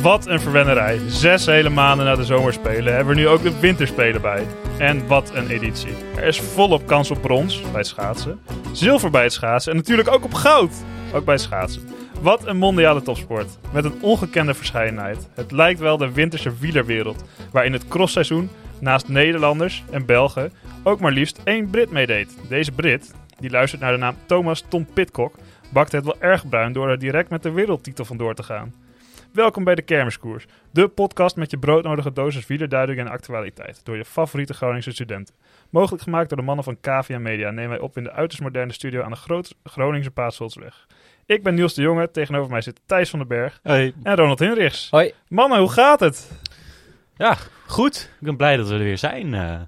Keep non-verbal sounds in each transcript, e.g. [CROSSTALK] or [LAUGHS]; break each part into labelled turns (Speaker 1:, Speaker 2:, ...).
Speaker 1: Wat een verwennerij. Zes hele maanden na de zomerspelen hebben we nu ook de winterspelen bij. En wat een editie. Er is volop kans op brons bij het schaatsen, zilver bij het schaatsen en natuurlijk ook op goud, ook bij het schaatsen. Wat een mondiale topsport, met een ongekende verscheidenheid. Het lijkt wel de winterse wielerwereld, waar in het crossseizoen naast Nederlanders en Belgen ook maar liefst één Brit meedeed. Deze Brit, die luistert naar de naam Thomas Tom Pitcock, bakte het wel erg bruin door er direct met de wereldtitel vandoor te gaan. Welkom bij de Kermiskoers, de podcast met je broodnodige dosis wielerduiding en actualiteit door je favoriete Groningse studenten. Mogelijk gemaakt door de mannen van Kavia Media nemen wij op in de uiterst moderne studio aan de Groot Groningse Paasholtsweg. Ik ben Niels de Jonge, tegenover mij zitten Thijs van den Berg
Speaker 2: Hey.
Speaker 1: en Ronald Hinrichs.
Speaker 3: Hoi.
Speaker 1: Mannen, hoe gaat het?
Speaker 2: Ja, goed. Ik ben blij dat we er weer zijn. eh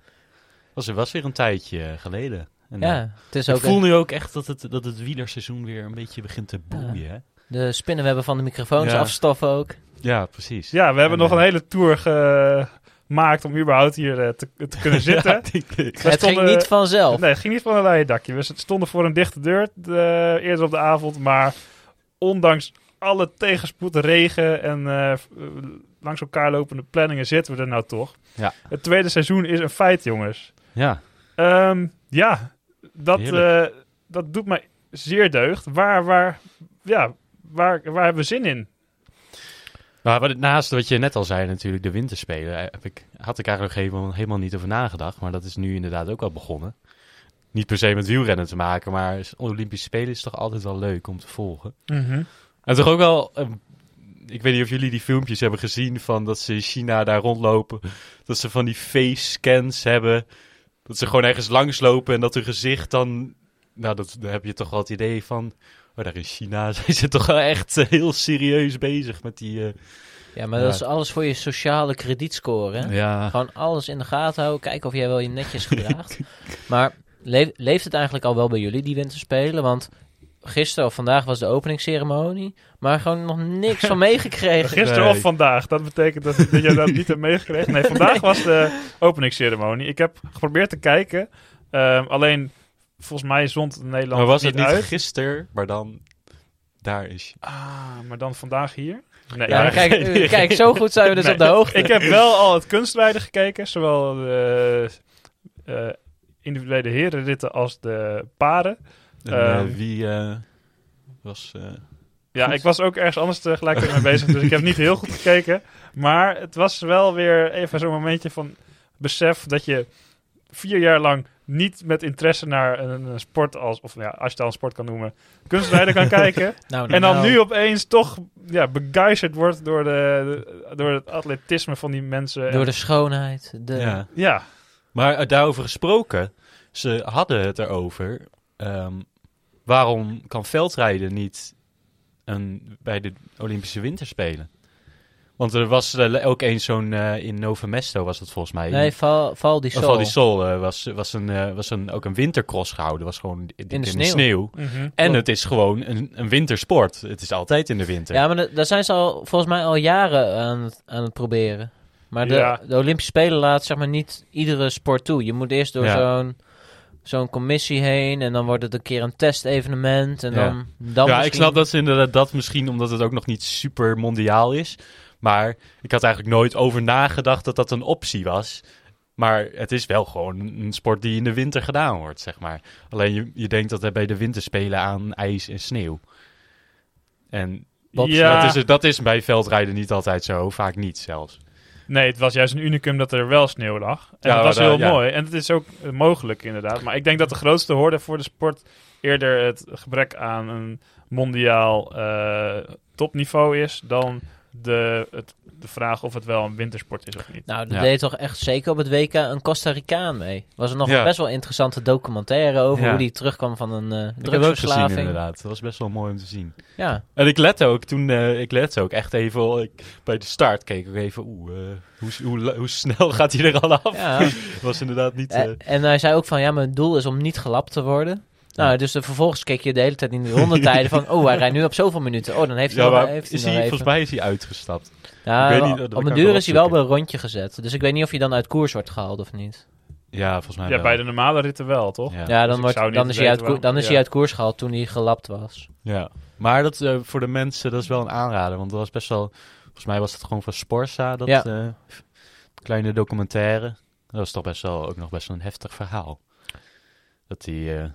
Speaker 2: was, was weer een tijdje geleden. En, eh,
Speaker 3: Ja, het is
Speaker 2: ik
Speaker 3: ook
Speaker 2: voel
Speaker 3: een-
Speaker 2: nu ook echt dat het, dat het wielerseizoen weer een beetje begint te boeien. hè?
Speaker 3: de spinnenwebben van de microfoons
Speaker 2: Ja.
Speaker 3: afstoffen ook.
Speaker 2: Ja, precies.
Speaker 1: Ja, we hebben
Speaker 2: En,
Speaker 1: nog een hele tour ge- gemaakt om überhaupt hier eh, te,
Speaker 3: [LAUGHS]
Speaker 1: te kunnen zitten.
Speaker 2: [LAUGHS] Ja, die-
Speaker 1: Wij
Speaker 3: het ging
Speaker 1: stonden-
Speaker 3: niet vanzelf.
Speaker 1: Nee, het ging niet van een leien dakje. We stonden voor een dichte deur eh, eerder op de avond. Maar ondanks alle tegenspoed, regen en eh, f- eh, langs elkaar lopende planningen zitten we er nou toch.
Speaker 2: Ja.
Speaker 1: Het tweede seizoen is een feit, jongens.
Speaker 2: ja.
Speaker 1: Ehm, ja, dat,
Speaker 2: Heerlijk.
Speaker 1: eh, dat doet mij zeer deugd. Waar, waar, ja, waar, waar hebben we zin in?
Speaker 2: Maar wat, naast wat je net al zei, natuurlijk de winterspelen, eh, heb ik, had ik eigenlijk helemaal, helemaal niet over nagedacht. Maar dat is nu inderdaad ook al begonnen. Niet per se met wielrennen te maken, maar Olympische Spelen is toch altijd wel leuk om te volgen. En toch ook wel. ehm, ik weet niet of jullie die filmpjes hebben gezien van dat ze in China daar rondlopen. Dat ze van die face scans hebben. Dat ze gewoon ergens langslopen en dat hun gezicht dan. Nou, dat, dan heb je toch wel het idee van. Oh, daar in China [LAUGHS] zijn ze toch wel echt eh, heel serieus bezig met die. eh,
Speaker 3: Ja, maar
Speaker 2: Ja.
Speaker 3: dat is alles voor je sociale kredietscore. hè?
Speaker 2: ja.
Speaker 3: Gewoon alles in de gaten houden. Kijken of jij wel je netjes gedraagt. maar leef- leeft het eigenlijk al wel bij jullie, die winterspelen? Want gisteren of vandaag was de openingsceremonie. Maar gewoon nog niks van meegekregen.
Speaker 1: Gisteren
Speaker 2: Nee.
Speaker 1: of vandaag. Dat betekent dat, dat je dat niet hebt meegekregen. Nee, vandaag was de openingsceremonie. Ik heb geprobeerd te kijken. Ehm, alleen, volgens mij zond Nederland
Speaker 2: Maar was het niet
Speaker 1: niet uit.
Speaker 2: gisteren, maar dan. Daar is.
Speaker 1: Ah, maar dan vandaag hier? [LAUGHS] Nee,
Speaker 3: Ja, maar
Speaker 1: eigenlijk-
Speaker 3: kijk, eh, kijk, zo goed zijn we dus
Speaker 1: Nee.
Speaker 3: op de hoogte.
Speaker 1: Ik heb wel al het kunstrijden gekeken. Zowel de eh, individuele herenritten als de paren.
Speaker 2: En, eh,
Speaker 1: Ehm.
Speaker 2: wie eh, was. eh,
Speaker 1: Ja, ik was ook ergens anders tegelijkertijd mee bezig, dus ik heb niet heel goed gekeken. Maar het was wel weer even zo'n momentje van besef dat je vier jaar lang niet met interesse naar een, een sport als, of nou ja, als je het al een sport kan noemen, kunstrijden
Speaker 3: [LAUGHS]
Speaker 1: kan kijken.
Speaker 3: Nou,
Speaker 1: En dan
Speaker 3: nou.
Speaker 1: nu opeens toch ja, begeisterd wordt door, de, de- door het atletisme van die mensen.
Speaker 3: Door de schoonheid. De...
Speaker 2: ja.
Speaker 1: Ja,
Speaker 2: Maar eh, daarover gesproken, ze hadden het erover. ehm, waarom kan veldrijden niet een, bij de Olympische Winterspelen? Want er was eh, ook eens zo'n eh, in Novemesto was dat volgens mij.
Speaker 3: Nee, val, val die
Speaker 2: Of
Speaker 3: sol.
Speaker 2: al die Sol eh, was, was, een, eh, was een, ook een wintercross gehouden. Was gewoon dit
Speaker 3: de sneeuw.
Speaker 1: Mhm.
Speaker 2: En
Speaker 3: Klopt.
Speaker 2: het is gewoon een, een wintersport. Het is altijd in de winter.
Speaker 3: Ja, maar da- daar zijn ze al volgens mij al jaren aan het, aan het proberen. Maar de,
Speaker 1: Ja.
Speaker 3: de Olympische Spelen laat zeg maar niet iedere sport toe. Je moet eerst door
Speaker 2: Ja.
Speaker 3: zo'n zo'n commissie heen en dan wordt het een keer een testevenement en
Speaker 2: Ja.
Speaker 3: dan dan
Speaker 2: ja, ik
Speaker 3: misschien-
Speaker 2: snap dat ze inderdaad dat misschien omdat het ook nog niet super mondiaal is. Maar ik had eigenlijk nooit over nagedacht dat dat een optie was. Maar het is wel gewoon een sport die in de winter gedaan wordt, zeg maar. Alleen je, je denkt dat er bij de winterspelen aan ijs en sneeuw. En
Speaker 1: Ja.
Speaker 2: dat, is, dat is bij veldrijden niet altijd zo, vaak niet zelfs.
Speaker 1: Nee, het was juist een unicum dat er wel sneeuw lag. En
Speaker 2: Ja,
Speaker 1: dat was
Speaker 2: maar,
Speaker 1: heel
Speaker 2: eh, ja.
Speaker 1: mooi. En het is ook eh, mogelijk, inderdaad. Maar ik denk dat de grootste hoorde voor de sport eerder het gebrek aan een mondiaal eh, topniveau is dan de, het, de vraag of het wel een wintersport is of niet.
Speaker 3: Nou, dat
Speaker 2: Ja.
Speaker 3: deed toch echt zeker op het WK een Costa Ricaan mee. Was er nog
Speaker 2: Ja.
Speaker 3: een best wel interessante documentaire over
Speaker 2: Ja.
Speaker 3: hoe die terugkwam van een eh
Speaker 2: Ik heb het ook gezien
Speaker 3: drugsverslaving.
Speaker 2: inderdaad. Dat was best wel mooi om te zien.
Speaker 3: Ja,
Speaker 2: En ik lette ook toen, eh, ik lette ook echt even, ik, bij de start keek ik even, oeh, eh, hoe, hoe, hoe snel [LAUGHS] gaat hij er al af?
Speaker 3: ja.
Speaker 2: was inderdaad niet. eh,
Speaker 3: Eh, en hij zei ook van ja, mijn doel is om niet gelapt te worden. Nou, dus eh, vervolgens keek je de hele tijd in die
Speaker 2: [LAUGHS]
Speaker 3: rondetijden van... Oh, hij rijdt nu op zoveel minuten. Oh, dan heeft hij
Speaker 2: Ja,
Speaker 3: nog
Speaker 2: maar
Speaker 3: even.
Speaker 2: is hij, volgens mij is hij uitgestapt. ik
Speaker 3: Ja,
Speaker 2: weet niet, dat kan
Speaker 3: op
Speaker 2: ik
Speaker 3: een
Speaker 2: wel
Speaker 3: duur is hij wel bij
Speaker 2: opzoeken.
Speaker 3: een rondje gezet. Dus ik weet niet of hij dan uit koers wordt gehaald of niet.
Speaker 2: Ja, volgens mij
Speaker 1: Ja,
Speaker 2: wel.
Speaker 1: bij de normale ritten wel, toch?
Speaker 2: Ja.
Speaker 3: Ja,
Speaker 1: dus
Speaker 3: dan,
Speaker 1: ik
Speaker 3: wordt,
Speaker 1: zou niet
Speaker 3: dan, is, hij
Speaker 1: weten
Speaker 3: uit, koer-
Speaker 1: waarom-
Speaker 3: dan is
Speaker 1: ja.
Speaker 3: hij uit koers gehaald toen hij gelapt was.
Speaker 2: Ja. Maar dat, eh, voor de mensen, dat is wel een aanrader. Want dat was best wel... Volgens mij was dat gewoon van Sporza, dat
Speaker 3: Ja.
Speaker 2: eh, kleine documentaire. Dat was toch best wel, ook nog best wel een heftig verhaal. Dat hij, eh,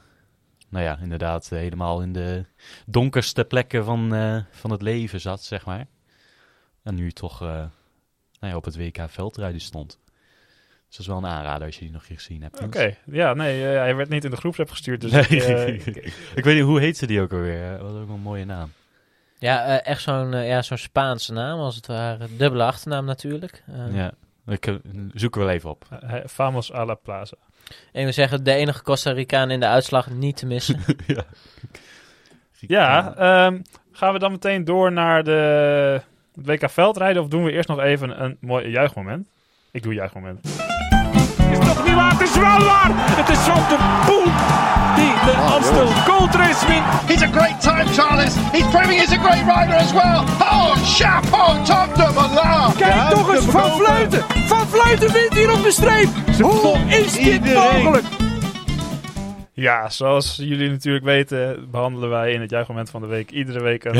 Speaker 2: nou ja, inderdaad eh, helemaal in de donkerste plekken van, eh, van het leven zat, zeg maar. En nu toch eh, nou ja, op het WK veldrijden stond. Dus dat is wel een aanrader als je die nog niet gezien hebt.
Speaker 1: Oké, ja, nee, eh, hij werd niet in de groepsapp gestuurd, dus
Speaker 2: Nee.
Speaker 1: ik, eh, ik-
Speaker 2: [LAUGHS] Ik weet niet, hoe heette die ook alweer? Eh, Wat ook wel een mooie naam.
Speaker 3: Ja, eh, echt zo'n eh, ja, zo'n Spaanse naam als het ware. Dubbele achternaam natuurlijk. Eh,
Speaker 2: Ja, ik eh, zoek er wel even op.
Speaker 1: hij- Famos eh, a la Plaza.
Speaker 3: En we zeggen de enige Costa Ricaan in de uitslag niet te
Speaker 2: [LAUGHS]
Speaker 3: missen.
Speaker 1: Ja, ehm, gaan we dan meteen door naar de het WK veldrijden of doen we eerst nog even een mooi juichmoment? Ik doe juichmoment.
Speaker 4: is toch niet waar? Het is wel waar! Het is van de Poel die de Amstel Gold Race wint.
Speaker 5: He's a great time, Charles. He's proving he's a great rider as well. Oh, chapeau, top de Malar.
Speaker 4: Kijk toch eens, Van Vleuten! Van Vleuten wint hier op de streep! Hoe is dit mogelijk?
Speaker 1: Ja, zoals jullie natuurlijk weten, behandelen wij in het juichmoment van de week iedere week
Speaker 2: [LAUGHS]
Speaker 1: een,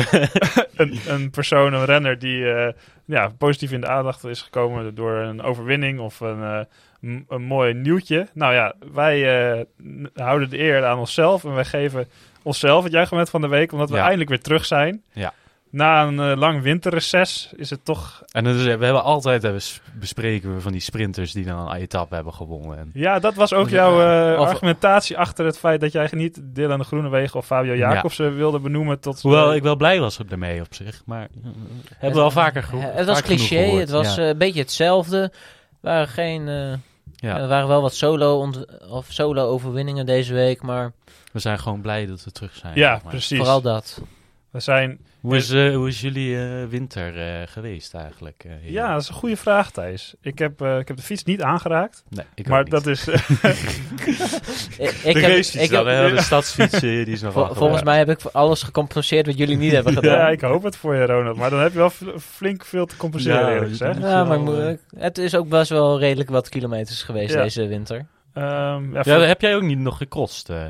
Speaker 1: een, een persoon, een renner die eh, ja, positief in de aandacht is gekomen door een overwinning of een, eh, m- een mooi nieuwtje. Nou ja, wij eh, n- houden de eer aan onszelf en wij geven onszelf het juichmoment van de week, omdat we
Speaker 2: Ja.
Speaker 1: eindelijk weer terug zijn.
Speaker 2: Ja.
Speaker 1: Na een eh, lang winterreces is het toch...
Speaker 2: En dat is- we hebben altijd hebben s- bespreken we van die sprinters die dan een etappe hebben gewonnen. En,
Speaker 1: Ja, dat was ook jouw eh,
Speaker 3: Of-
Speaker 1: argumentatie achter het feit dat jij niet Dylan Groenewegen of Fabio Jacobsen wilde benoemen tot... eh,
Speaker 2: hoewel ik wel blij was op ermee op zich, maar eh, hebben we al vaker
Speaker 3: Eh,
Speaker 2: gehoord.
Speaker 3: het was cliché, het was
Speaker 2: Ja.
Speaker 3: eh, een beetje hetzelfde. Er waren, geen, eh,
Speaker 2: Ja.
Speaker 3: er waren wel wat solo ont- of solo overwinningen deze week, maar
Speaker 2: we zijn gewoon blij dat we terug zijn.
Speaker 1: Ja,
Speaker 2: zeg maar.
Speaker 1: precies.
Speaker 3: vooral dat.
Speaker 1: We zijn...
Speaker 2: Hoe is, eh, hoe is jullie eh, winter eh, geweest eigenlijk? eh, heren?
Speaker 1: Ja, dat is een goede vraag, Thijs. Ik heb, eh, ik heb de fiets niet aangeraakt,
Speaker 2: nee, ik ook
Speaker 1: maar
Speaker 2: niet.
Speaker 1: dat
Speaker 2: [LAUGHS]
Speaker 1: is... [LAUGHS]
Speaker 3: Ik, ik
Speaker 2: de racefiets dan, hè?
Speaker 3: [LAUGHS]
Speaker 1: heb-
Speaker 2: de stadsfiets, eh, die is nog
Speaker 3: vol-
Speaker 2: wel
Speaker 3: volgens
Speaker 2: gewaard.
Speaker 3: mij heb ik voor alles gecompenseerd wat jullie
Speaker 1: [LAUGHS]
Speaker 3: niet hebben gedaan.
Speaker 1: ja, ik hoop het voor je, Ronald. Maar dan heb je wel fl- flink veel te compenseren,
Speaker 2: Ja,
Speaker 1: eerlijk gezegd.
Speaker 2: dat-
Speaker 3: Ja, maar ik
Speaker 2: wel,
Speaker 3: moet- het is ook best wel redelijk wat kilometers geweest
Speaker 1: Ja.
Speaker 3: deze winter.
Speaker 1: Ehm, ja,
Speaker 2: Ja,
Speaker 1: voor-
Speaker 2: heb jij ook niet nog gekost? eh?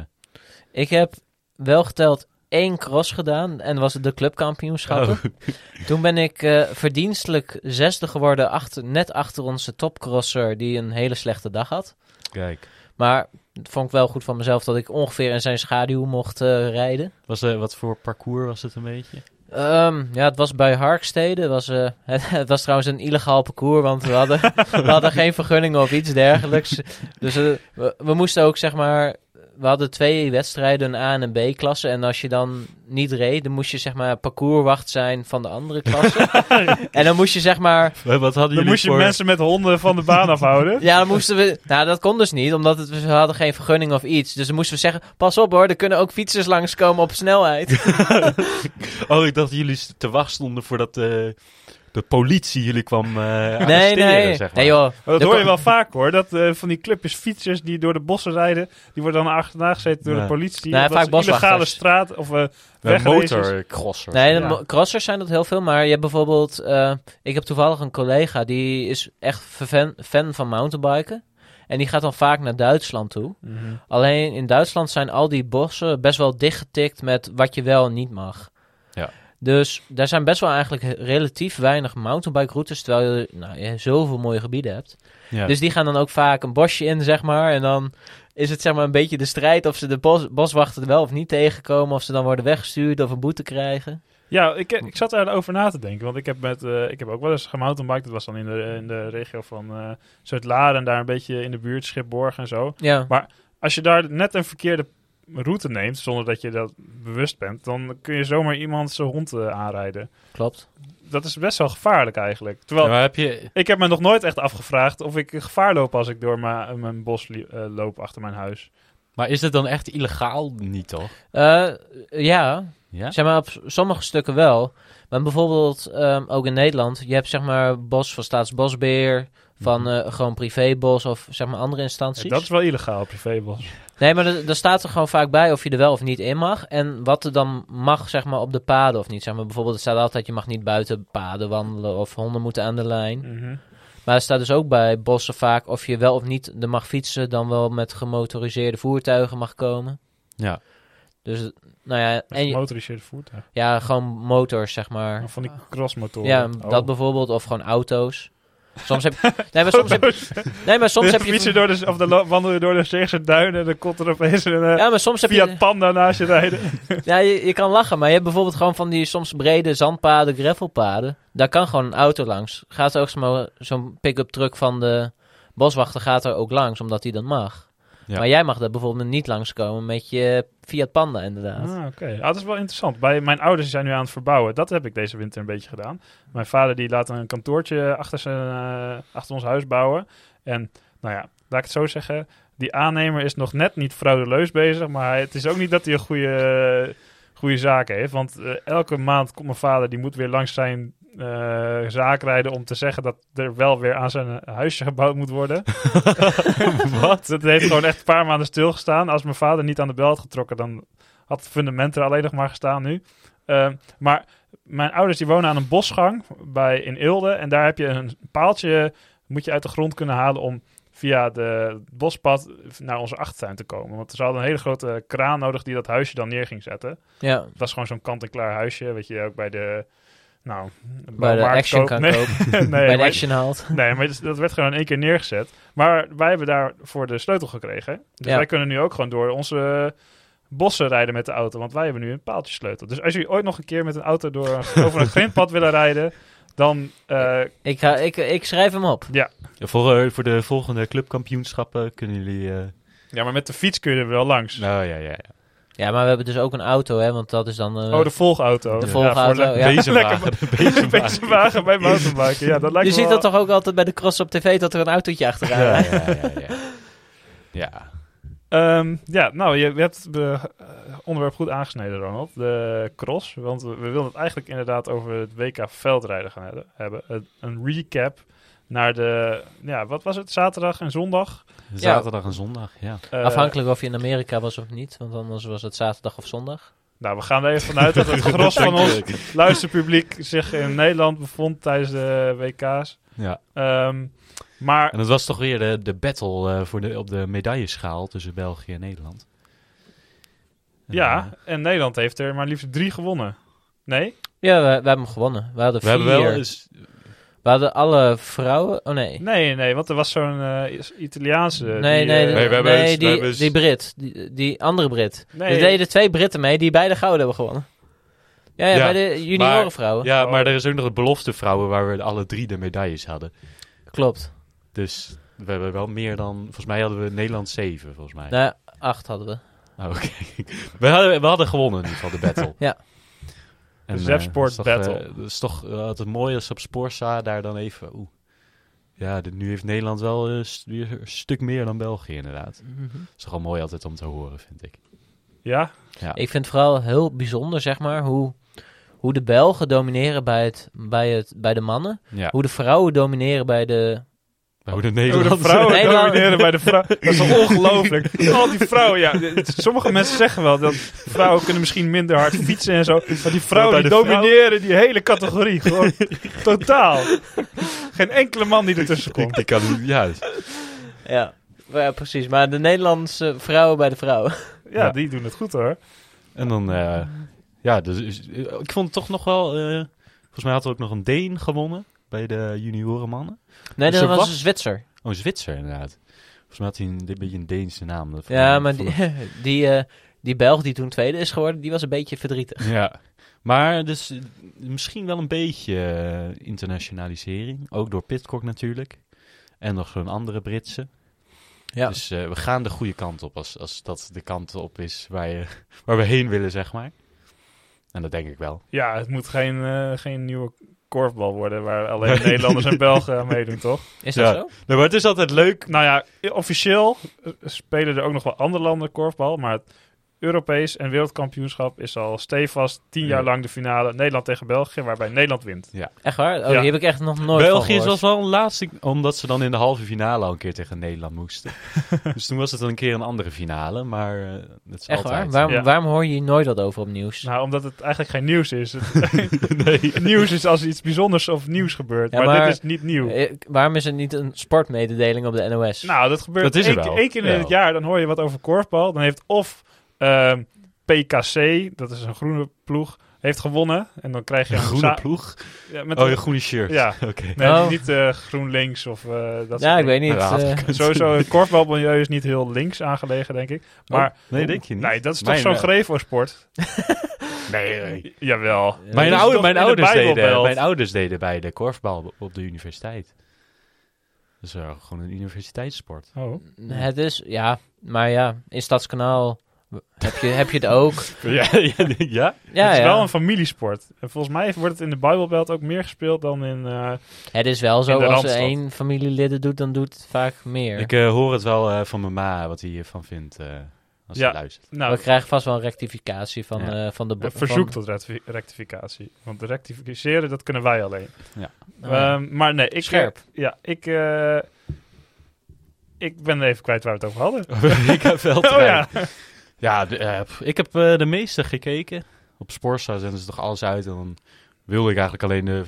Speaker 3: Ik heb wel geteld één cross gedaan en was het de clubkampioenschappen.
Speaker 2: Oh.
Speaker 3: [LAUGHS] Toen ben ik eh, verdienstelijk zesde geworden, achter, net achter onze topcrosser die een hele slechte dag had.
Speaker 2: Kijk,
Speaker 3: Maar het vond ik wel goed van mezelf dat ik ongeveer in zijn schaduw mocht eh, rijden.
Speaker 2: was, eh, wat voor parcours was het een beetje?
Speaker 3: Ehm, ja, het was bij Harkstede. Het was, eh, [LAUGHS] het, het was trouwens een illegaal parcours, want we
Speaker 2: [LAUGHS]
Speaker 3: hadden, we hadden geen vergunningen of iets dergelijks. Dus eh, we, we moesten ook, zeg maar... We hadden twee wedstrijden, een A- en een B-klasse. En als je dan niet reed, dan moest je, zeg maar, parcourswacht zijn van de andere
Speaker 2: [LAUGHS]
Speaker 3: klasse. en dan moest je, zeg maar...
Speaker 2: Wat hadden
Speaker 1: dan
Speaker 2: jullie
Speaker 1: moest je
Speaker 2: voor...
Speaker 1: mensen met honden van de
Speaker 2: [LAUGHS]
Speaker 1: baan afhouden.
Speaker 3: Ja, dan moesten we... Nou, dat kon dus niet, omdat het, we hadden geen vergunning of iets. Dus dan moesten we zeggen, pas op hoor, er kunnen ook fietsers langskomen op snelheid.
Speaker 2: Oh, ik dacht dat jullie te wachten stonden voordat eh, de politie jullie kwam eh
Speaker 3: Nee,
Speaker 2: arresteren,
Speaker 3: nee.
Speaker 2: zeg maar.
Speaker 3: Nee joh.
Speaker 1: Maar dat
Speaker 3: Er
Speaker 1: hoor je
Speaker 3: kon-
Speaker 1: wel vaak, hoor. Dat eh, van die clubjes fietsers die door de bossen rijden, die worden dan achterna gezeten door
Speaker 2: Ja.
Speaker 1: de politie.
Speaker 3: Nou,
Speaker 1: omdat
Speaker 3: vaak
Speaker 1: ze illegale
Speaker 3: boswachters.
Speaker 1: straat of eh
Speaker 2: Een
Speaker 1: wegracers-
Speaker 2: motorcrosser.
Speaker 3: Nee, de
Speaker 1: Ja.
Speaker 3: mo- crossers zijn dat heel veel. Maar je hebt bijvoorbeeld... eh, ik heb toevallig een collega die is echt fan, fan van mountainbiken. En die gaat dan vaak naar Duitsland toe.
Speaker 1: Mhm.
Speaker 3: Alleen in Duitsland zijn al die bossen best wel dichtgetikt met wat je wel en niet mag.
Speaker 2: Ja.
Speaker 3: Dus daar zijn best wel eigenlijk he- relatief weinig mountainbike routes. Terwijl je, nou, je zoveel mooie gebieden hebt.
Speaker 2: Ja.
Speaker 3: Dus die gaan dan ook vaak een bosje in, zeg maar. En dan is het zeg maar een beetje de strijd of ze de bos, boswachten wel of niet tegenkomen. Of ze dan worden weggestuurd of een boete krijgen.
Speaker 1: Ja, ik, ik zat daarover na te denken. Want ik heb, met, eh, ik heb ook wel eens gemountainbiked. Dat was dan in de, in de regio van eh Zuid-Laren. en Daar een beetje in de buurt, Schipborg en zo.
Speaker 3: Ja.
Speaker 1: Als je daar net een verkeerde route neemt, zonder dat je dat bewust bent... dan kun je zomaar iemand zijn hond eh, aanrijden.
Speaker 3: Klopt.
Speaker 1: Dat is best wel gevaarlijk eigenlijk. Terwijl,
Speaker 2: Ja, maar heb je...
Speaker 1: ik heb me nog nooit echt afgevraagd... of ik gevaar loop als ik door mijn, mijn bos li- eh, loop achter mijn huis.
Speaker 2: Maar is het dan echt illegaal? Niet, toch?
Speaker 3: Eh, ja,
Speaker 2: Ja?
Speaker 3: Zeg maar op s- sommige stukken wel. Maar bijvoorbeeld ehm, ook in Nederland. Je hebt zeg maar bos van Staatsbosbeheer. Van eh, gewoon privébos of zeg maar andere instanties.
Speaker 1: Mhm. Ja, dat is wel illegaal, privébos.
Speaker 3: Nee, maar er- daar staat er gewoon vaak bij of je er wel of niet in mag. En wat er dan mag, zeg maar, op de paden of niet. Zeg maar, bijvoorbeeld, er staat altijd, je mag niet buiten paden wandelen of honden moeten aan de lijn. Maar er staat dus ook bij bossen vaak of je wel of niet er mag fietsen, dan wel met gemotoriseerde voertuigen mag komen.
Speaker 2: Ja.
Speaker 3: Dus, nou ja, en je-
Speaker 1: Gemotoriseerd voertuig.
Speaker 3: ja, gewoon motors, zeg maar.
Speaker 1: Van die crossmotoren.
Speaker 3: Ah. Ja,
Speaker 1: Oh.
Speaker 3: dat bijvoorbeeld, of gewoon auto's. Soms heb
Speaker 1: [LAUGHS]
Speaker 3: Nee, maar soms heb, nee, maar soms heb
Speaker 1: Dan fiets je
Speaker 3: je...
Speaker 1: door de, of dan lo- wandel je door de Zeegse duinen en dan komt er opeens een eh,
Speaker 3: Ja, maar soms heb je...
Speaker 1: Fiat Panda naast je rijden.
Speaker 3: Ja, je, je kan lachen, maar je hebt bijvoorbeeld gewoon van die soms brede zandpaden, gravelpaden. Daar kan gewoon een auto langs. Gaat er ook zo'n- zo'n pick-up truck van de boswachter gaat er ook langs, omdat hij dat mag.
Speaker 2: Ja.
Speaker 3: Maar jij mag daar bijvoorbeeld niet langskomen met je Fiat Panda inderdaad.
Speaker 1: Ah, oké. Ah, dat is wel interessant. Bij, mijn ouders zijn nu aan het verbouwen. Dat heb ik deze winter een beetje gedaan. Mijn vader die laat een kantoortje achter, zijn, eh, achter ons huis bouwen. En nou ja, laat ik het zo zeggen. Die aannemer is nog net niet fraudeleus bezig. Maar hij- het is ook niet dat hij een goede, goede zaak heeft. Want eh, elke maand komt mijn vader, die moet weer langs zijn eh, zaak rijden... om te zeggen dat er wel weer aan zijn eh, huisje gebouwd moet worden. [LAUGHS] Wat? Dat heeft gewoon echt een paar maanden stilgestaan. Als mijn vader niet aan de bel had getrokken... dan had het fundament er alleen nog maar gestaan nu. Ehm, maar mijn ouders die wonen aan een bosgang bij, in Eelde. En daar heb je een paaltje, moet je uit de grond kunnen halen om via de het bospad naar onze achtertuin te komen. Want ze hadden een hele grote kraan nodig die dat huisje dan neer ging zetten.
Speaker 3: Ja,
Speaker 1: Dat is gewoon zo'n kant-en-klaar huisje, wat je ook bij de... Nou,
Speaker 3: bij de
Speaker 1: bouwmarkt
Speaker 3: Action
Speaker 1: koopt.
Speaker 3: kan
Speaker 1: nee,
Speaker 3: kopen.
Speaker 1: [LAUGHS] nee,
Speaker 3: bij de
Speaker 1: maar-
Speaker 3: Action haalt.
Speaker 1: Nee, maar dat- dat werd gewoon in één keer neergezet. Maar wij hebben daarvoor de sleutel gekregen. Dus
Speaker 3: Ja.
Speaker 1: wij kunnen nu ook gewoon door onze eh, bossen rijden met de auto. Want wij hebben nu een paaltjesleutel. Dus als jullie ooit nog een keer met een auto
Speaker 3: [LAUGHS]
Speaker 1: door, een- over een grindpad willen rijden... dan eh,
Speaker 3: Ik, ga, ik, ik schrijf hem op.
Speaker 2: Ja, Voor, eh, voor de volgende clubkampioenschappen kunnen jullie... eh,
Speaker 1: Ja, maar met de fiets kun je er wel langs.
Speaker 2: Nou ja, ja, ja.
Speaker 3: Ja, maar we hebben dus ook een auto, hè, want dat is dan... eh,
Speaker 1: Oh, de volgauto.
Speaker 3: De
Speaker 1: Ja,
Speaker 3: volgauto,
Speaker 1: voor le-
Speaker 3: Ja.
Speaker 2: Bezemwagen.
Speaker 1: [LAUGHS]
Speaker 2: [LAUGHS]
Speaker 1: Een beetje wagen bij mountainbiken. Ja, dat lijkt
Speaker 3: je
Speaker 1: me
Speaker 3: ziet
Speaker 1: wel-
Speaker 3: dat toch ook altijd bij de cross op tv, dat er een autootje achteraan
Speaker 2: Ja,
Speaker 3: rijdt?
Speaker 2: ja, ja, ja. Ja,
Speaker 1: Ehm, ja, nou, je, je hebt het eh, onderwerp goed aangesneden, Ronald. De cross. Want we, we wilden het eigenlijk inderdaad over het WK veldrijden gaan hebben- hebben. Een- een recap naar de, ja, wat was het? Zaterdag en zondag.
Speaker 2: zaterdag en zondag, ja.
Speaker 1: Eh,
Speaker 3: Afhankelijk of je in Amerika was of niet, want anders was het zaterdag of zondag.
Speaker 1: Nou, we gaan er even vanuit dat het gros van ons luisterpubliek zich in Nederland bevond tijdens de WK's.
Speaker 2: Ja.
Speaker 1: Ehm, maar
Speaker 2: En dat was toch weer de, de battle eh, voor de, op de medailleschaal tussen België en Nederland. En, eh,
Speaker 1: ja, en Nederland heeft er maar liefst drie gewonnen. Nee?
Speaker 3: Ja, we, we hebben hem gewonnen. We hadden
Speaker 2: we
Speaker 3: vier.
Speaker 2: hebben wel eens...
Speaker 3: We hadden alle vrouwen... Oh nee.
Speaker 1: Nee, nee, want er was zo'n eh, Italiaanse...
Speaker 3: Nee, nee,
Speaker 1: die,
Speaker 3: nee,
Speaker 1: eh,
Speaker 2: we hebben eens- we
Speaker 3: die,
Speaker 2: hebben eens-
Speaker 3: die Brit. Die, die andere Brit.
Speaker 1: nee.
Speaker 3: Er deden twee Britten mee die beide gouden hebben gewonnen. Ja, ja,
Speaker 2: Ja,
Speaker 3: bij de juniorenvrouwen.
Speaker 2: Ja,
Speaker 1: Oh.
Speaker 2: maar er is ook nog de belofte vrouwen waar we alle drie de medailles hadden.
Speaker 3: Klopt.
Speaker 2: Dus we hebben wel meer dan... Volgens mij hadden we Nederland zeven, volgens mij.
Speaker 3: Nou, acht hadden we.
Speaker 2: Oh, Oké. [LAUGHS] We, hadden, we hadden gewonnen in ieder geval, de battle.
Speaker 3: Ja.
Speaker 2: En,
Speaker 1: De
Speaker 2: eh,
Speaker 1: Zepsport
Speaker 2: dat is toch,
Speaker 1: battle.
Speaker 2: eh, dat is toch eh, altijd mooi als ze op Sporza daar dan even... Oeh. Ja, dit- nu heeft Nederland wel eh, st- weer een stuk meer dan België inderdaad. Dat is toch wel mooi altijd om te horen, vind ik.
Speaker 1: Ja?
Speaker 3: Ik vind het vooral heel bijzonder, zeg maar, hoe, hoe de Belgen domineren bij, het, bij, het, bij de mannen.
Speaker 2: Ja.
Speaker 3: Hoe de vrouwen domineren bij de...
Speaker 2: Hoe de
Speaker 3: Oh,
Speaker 1: Hoe de
Speaker 2: Nederlandse...
Speaker 1: vrouwen
Speaker 3: Nee, maar-
Speaker 1: domineren bij de vrouwen. Dat is toch ongelooflijk. [LAUGHS] Al die vrouwen, ja. Sommige mensen zeggen wel dat vrouwen kunnen misschien minder hard fietsen en zo. Maar die vrouwen
Speaker 2: Maar
Speaker 1: die
Speaker 2: bij de vrouwen-
Speaker 1: domineren die hele categorie. [LAUGHS] Gewoon totaal. Geen enkele man die ertussen komt.
Speaker 2: [LAUGHS] Ik kan, ja,
Speaker 3: Ja, ja precies. Maar de Nederlandse vrouwen bij de vrouwen.
Speaker 1: Ja,
Speaker 2: Ja.
Speaker 1: die doen het goed hoor.
Speaker 2: En dan, eh, ja, dus, is- ik vond het toch nog wel. eh, volgens mij had er ook nog een Deen gewonnen bij de juniorenmannen.
Speaker 3: Nee,
Speaker 2: Dus
Speaker 3: dat
Speaker 2: er
Speaker 3: was
Speaker 2: was-
Speaker 3: een Zwitser.
Speaker 2: Oh, een Zwitser inderdaad. Volgens mij had hij een, een beetje een Deense naam. Dat vond
Speaker 3: Ja,
Speaker 2: ik-
Speaker 3: maar
Speaker 2: vond
Speaker 3: die, [LAUGHS] die, eh, die Belg die toen tweede is geworden, die was een beetje verdrietig.
Speaker 2: ik- Ja. Maar dus eh, misschien wel een beetje eh, internationalisering. Ook door Pitcock natuurlijk. En nog zo'n andere Britse.
Speaker 3: Ja.
Speaker 2: Dus eh, we gaan de goede kant op als, als dat de kant op is waar, je, [LAUGHS] waar we heen willen, zeg maar. En dat denk ik wel.
Speaker 1: Ja, het moet geen, eh, geen nieuwe korfbal worden waar alleen [LAUGHS] Nederlanders en Belgen aan meedoen, toch?
Speaker 3: Is
Speaker 2: Ja.
Speaker 3: dat zo?
Speaker 2: Nee, Nou, maar het is altijd leuk
Speaker 1: Nou ja, officieel eh, spelen er ook nog wel andere landen korfbal, maar het Europees en wereldkampioenschap is al stevast tien jaar
Speaker 2: Ja.
Speaker 1: lang de finale Nederland tegen België, waarbij Nederland wint.
Speaker 3: Echt waar? Oh,
Speaker 1: Ja.
Speaker 3: die heb ik echt nog nooit van
Speaker 2: België
Speaker 3: gehoord.
Speaker 2: was wel een laatste, omdat ze dan in de halve finale al een keer tegen Nederland
Speaker 3: [LAUGHS]
Speaker 2: moesten. dus toen was het dan een keer een andere finale, maar eh, dat is
Speaker 3: Echt waar?
Speaker 2: altijd.
Speaker 3: Waarom,
Speaker 1: Ja.
Speaker 3: waarom hoor je hier nooit wat over op nieuws?
Speaker 1: Nou, omdat het eigenlijk geen nieuws is. Het
Speaker 2: [LAUGHS] nee.
Speaker 1: [LAUGHS] nieuws is als iets bijzonders of nieuws gebeurt,
Speaker 3: Ja,
Speaker 1: maar,
Speaker 3: maar-
Speaker 1: dit is niet nieuw.
Speaker 3: Eh, waarom is er niet een sportmededeling op de NOS?
Speaker 1: Nou, dat gebeurt
Speaker 2: Dat is er
Speaker 1: één,
Speaker 2: wel.
Speaker 1: één keer in
Speaker 2: Ja.
Speaker 1: het jaar. Dan hoor je wat over korfbal. Dan heeft of ehm, PKC, dat is een groene ploeg, heeft gewonnen. En dan krijg je
Speaker 2: Een
Speaker 1: een
Speaker 2: groene
Speaker 1: za-
Speaker 2: ploeg?
Speaker 1: Ja, met
Speaker 2: Oh,
Speaker 1: een-
Speaker 2: een groene shirt.
Speaker 1: Ja.
Speaker 2: [LAUGHS] Oké.
Speaker 1: [LAUGHS] Nee,
Speaker 3: Oh.
Speaker 1: niet eh, GroenLinks of eh, dat
Speaker 3: ja, ik weet niet.
Speaker 2: Ja,
Speaker 3: eh,
Speaker 1: niet. Sowieso, het korfbalmilieu is niet heel links aangelegen, denk ik. Maar
Speaker 2: Nee, denk je Oh, niet?
Speaker 1: nee, dat is toch
Speaker 2: Mijn,
Speaker 1: zo'n
Speaker 2: eh,
Speaker 1: grevo-sport?
Speaker 2: [LAUGHS] Nee, nee.
Speaker 1: Jawel. Dat
Speaker 2: Mijn,
Speaker 1: is
Speaker 2: oude,
Speaker 1: toch
Speaker 2: mijn,
Speaker 1: in de
Speaker 2: ouders
Speaker 1: Bijbel
Speaker 2: deden,
Speaker 1: belt?
Speaker 2: mijn ouders deden bij de korfbal op- op de universiteit. Dus eh, gewoon een
Speaker 1: [LAUGHS]
Speaker 2: universiteitssport.
Speaker 1: Oh.
Speaker 3: het is, ja, maar ja, in Stadskanaal heb je, heb je het ook.
Speaker 2: Ja, ja, ja?
Speaker 3: Ja,
Speaker 1: het is
Speaker 3: ja.
Speaker 1: wel een familiesport. En volgens mij wordt het in de Bijbelbelt ook meer gespeeld dan in... eh,
Speaker 3: het is wel
Speaker 1: in
Speaker 3: zo,
Speaker 1: de
Speaker 3: als er
Speaker 1: Randstad.
Speaker 3: één familielid het doet, dan doet het vaak meer.
Speaker 2: Ik eh, hoor het wel eh, van mijn ma, wat hij hiervan vindt eh, als hij
Speaker 1: Ja.
Speaker 2: luistert. [LAUGHS]
Speaker 1: nou,
Speaker 3: We krijgen vast wel een rectificatie van,
Speaker 2: Ja.
Speaker 3: eh, van de... bo-
Speaker 1: Een verzoek
Speaker 3: van-
Speaker 1: tot rectifi- rectificatie. Want rectificeren, dat kunnen wij alleen.
Speaker 2: Ja.
Speaker 1: Ehm, maar nee, ik...
Speaker 3: Oh, Scherp.
Speaker 1: Ja, ik... eh, ik ben even kwijt waar we het over hadden.
Speaker 2: ik heb wel
Speaker 1: [LAUGHS] Oh ja.
Speaker 2: Ja, de- eh, pff, ik heb eh, de meeste gekeken. Op Sporza zenden ze toch alles uit. En dan wilde ik eigenlijk alleen de,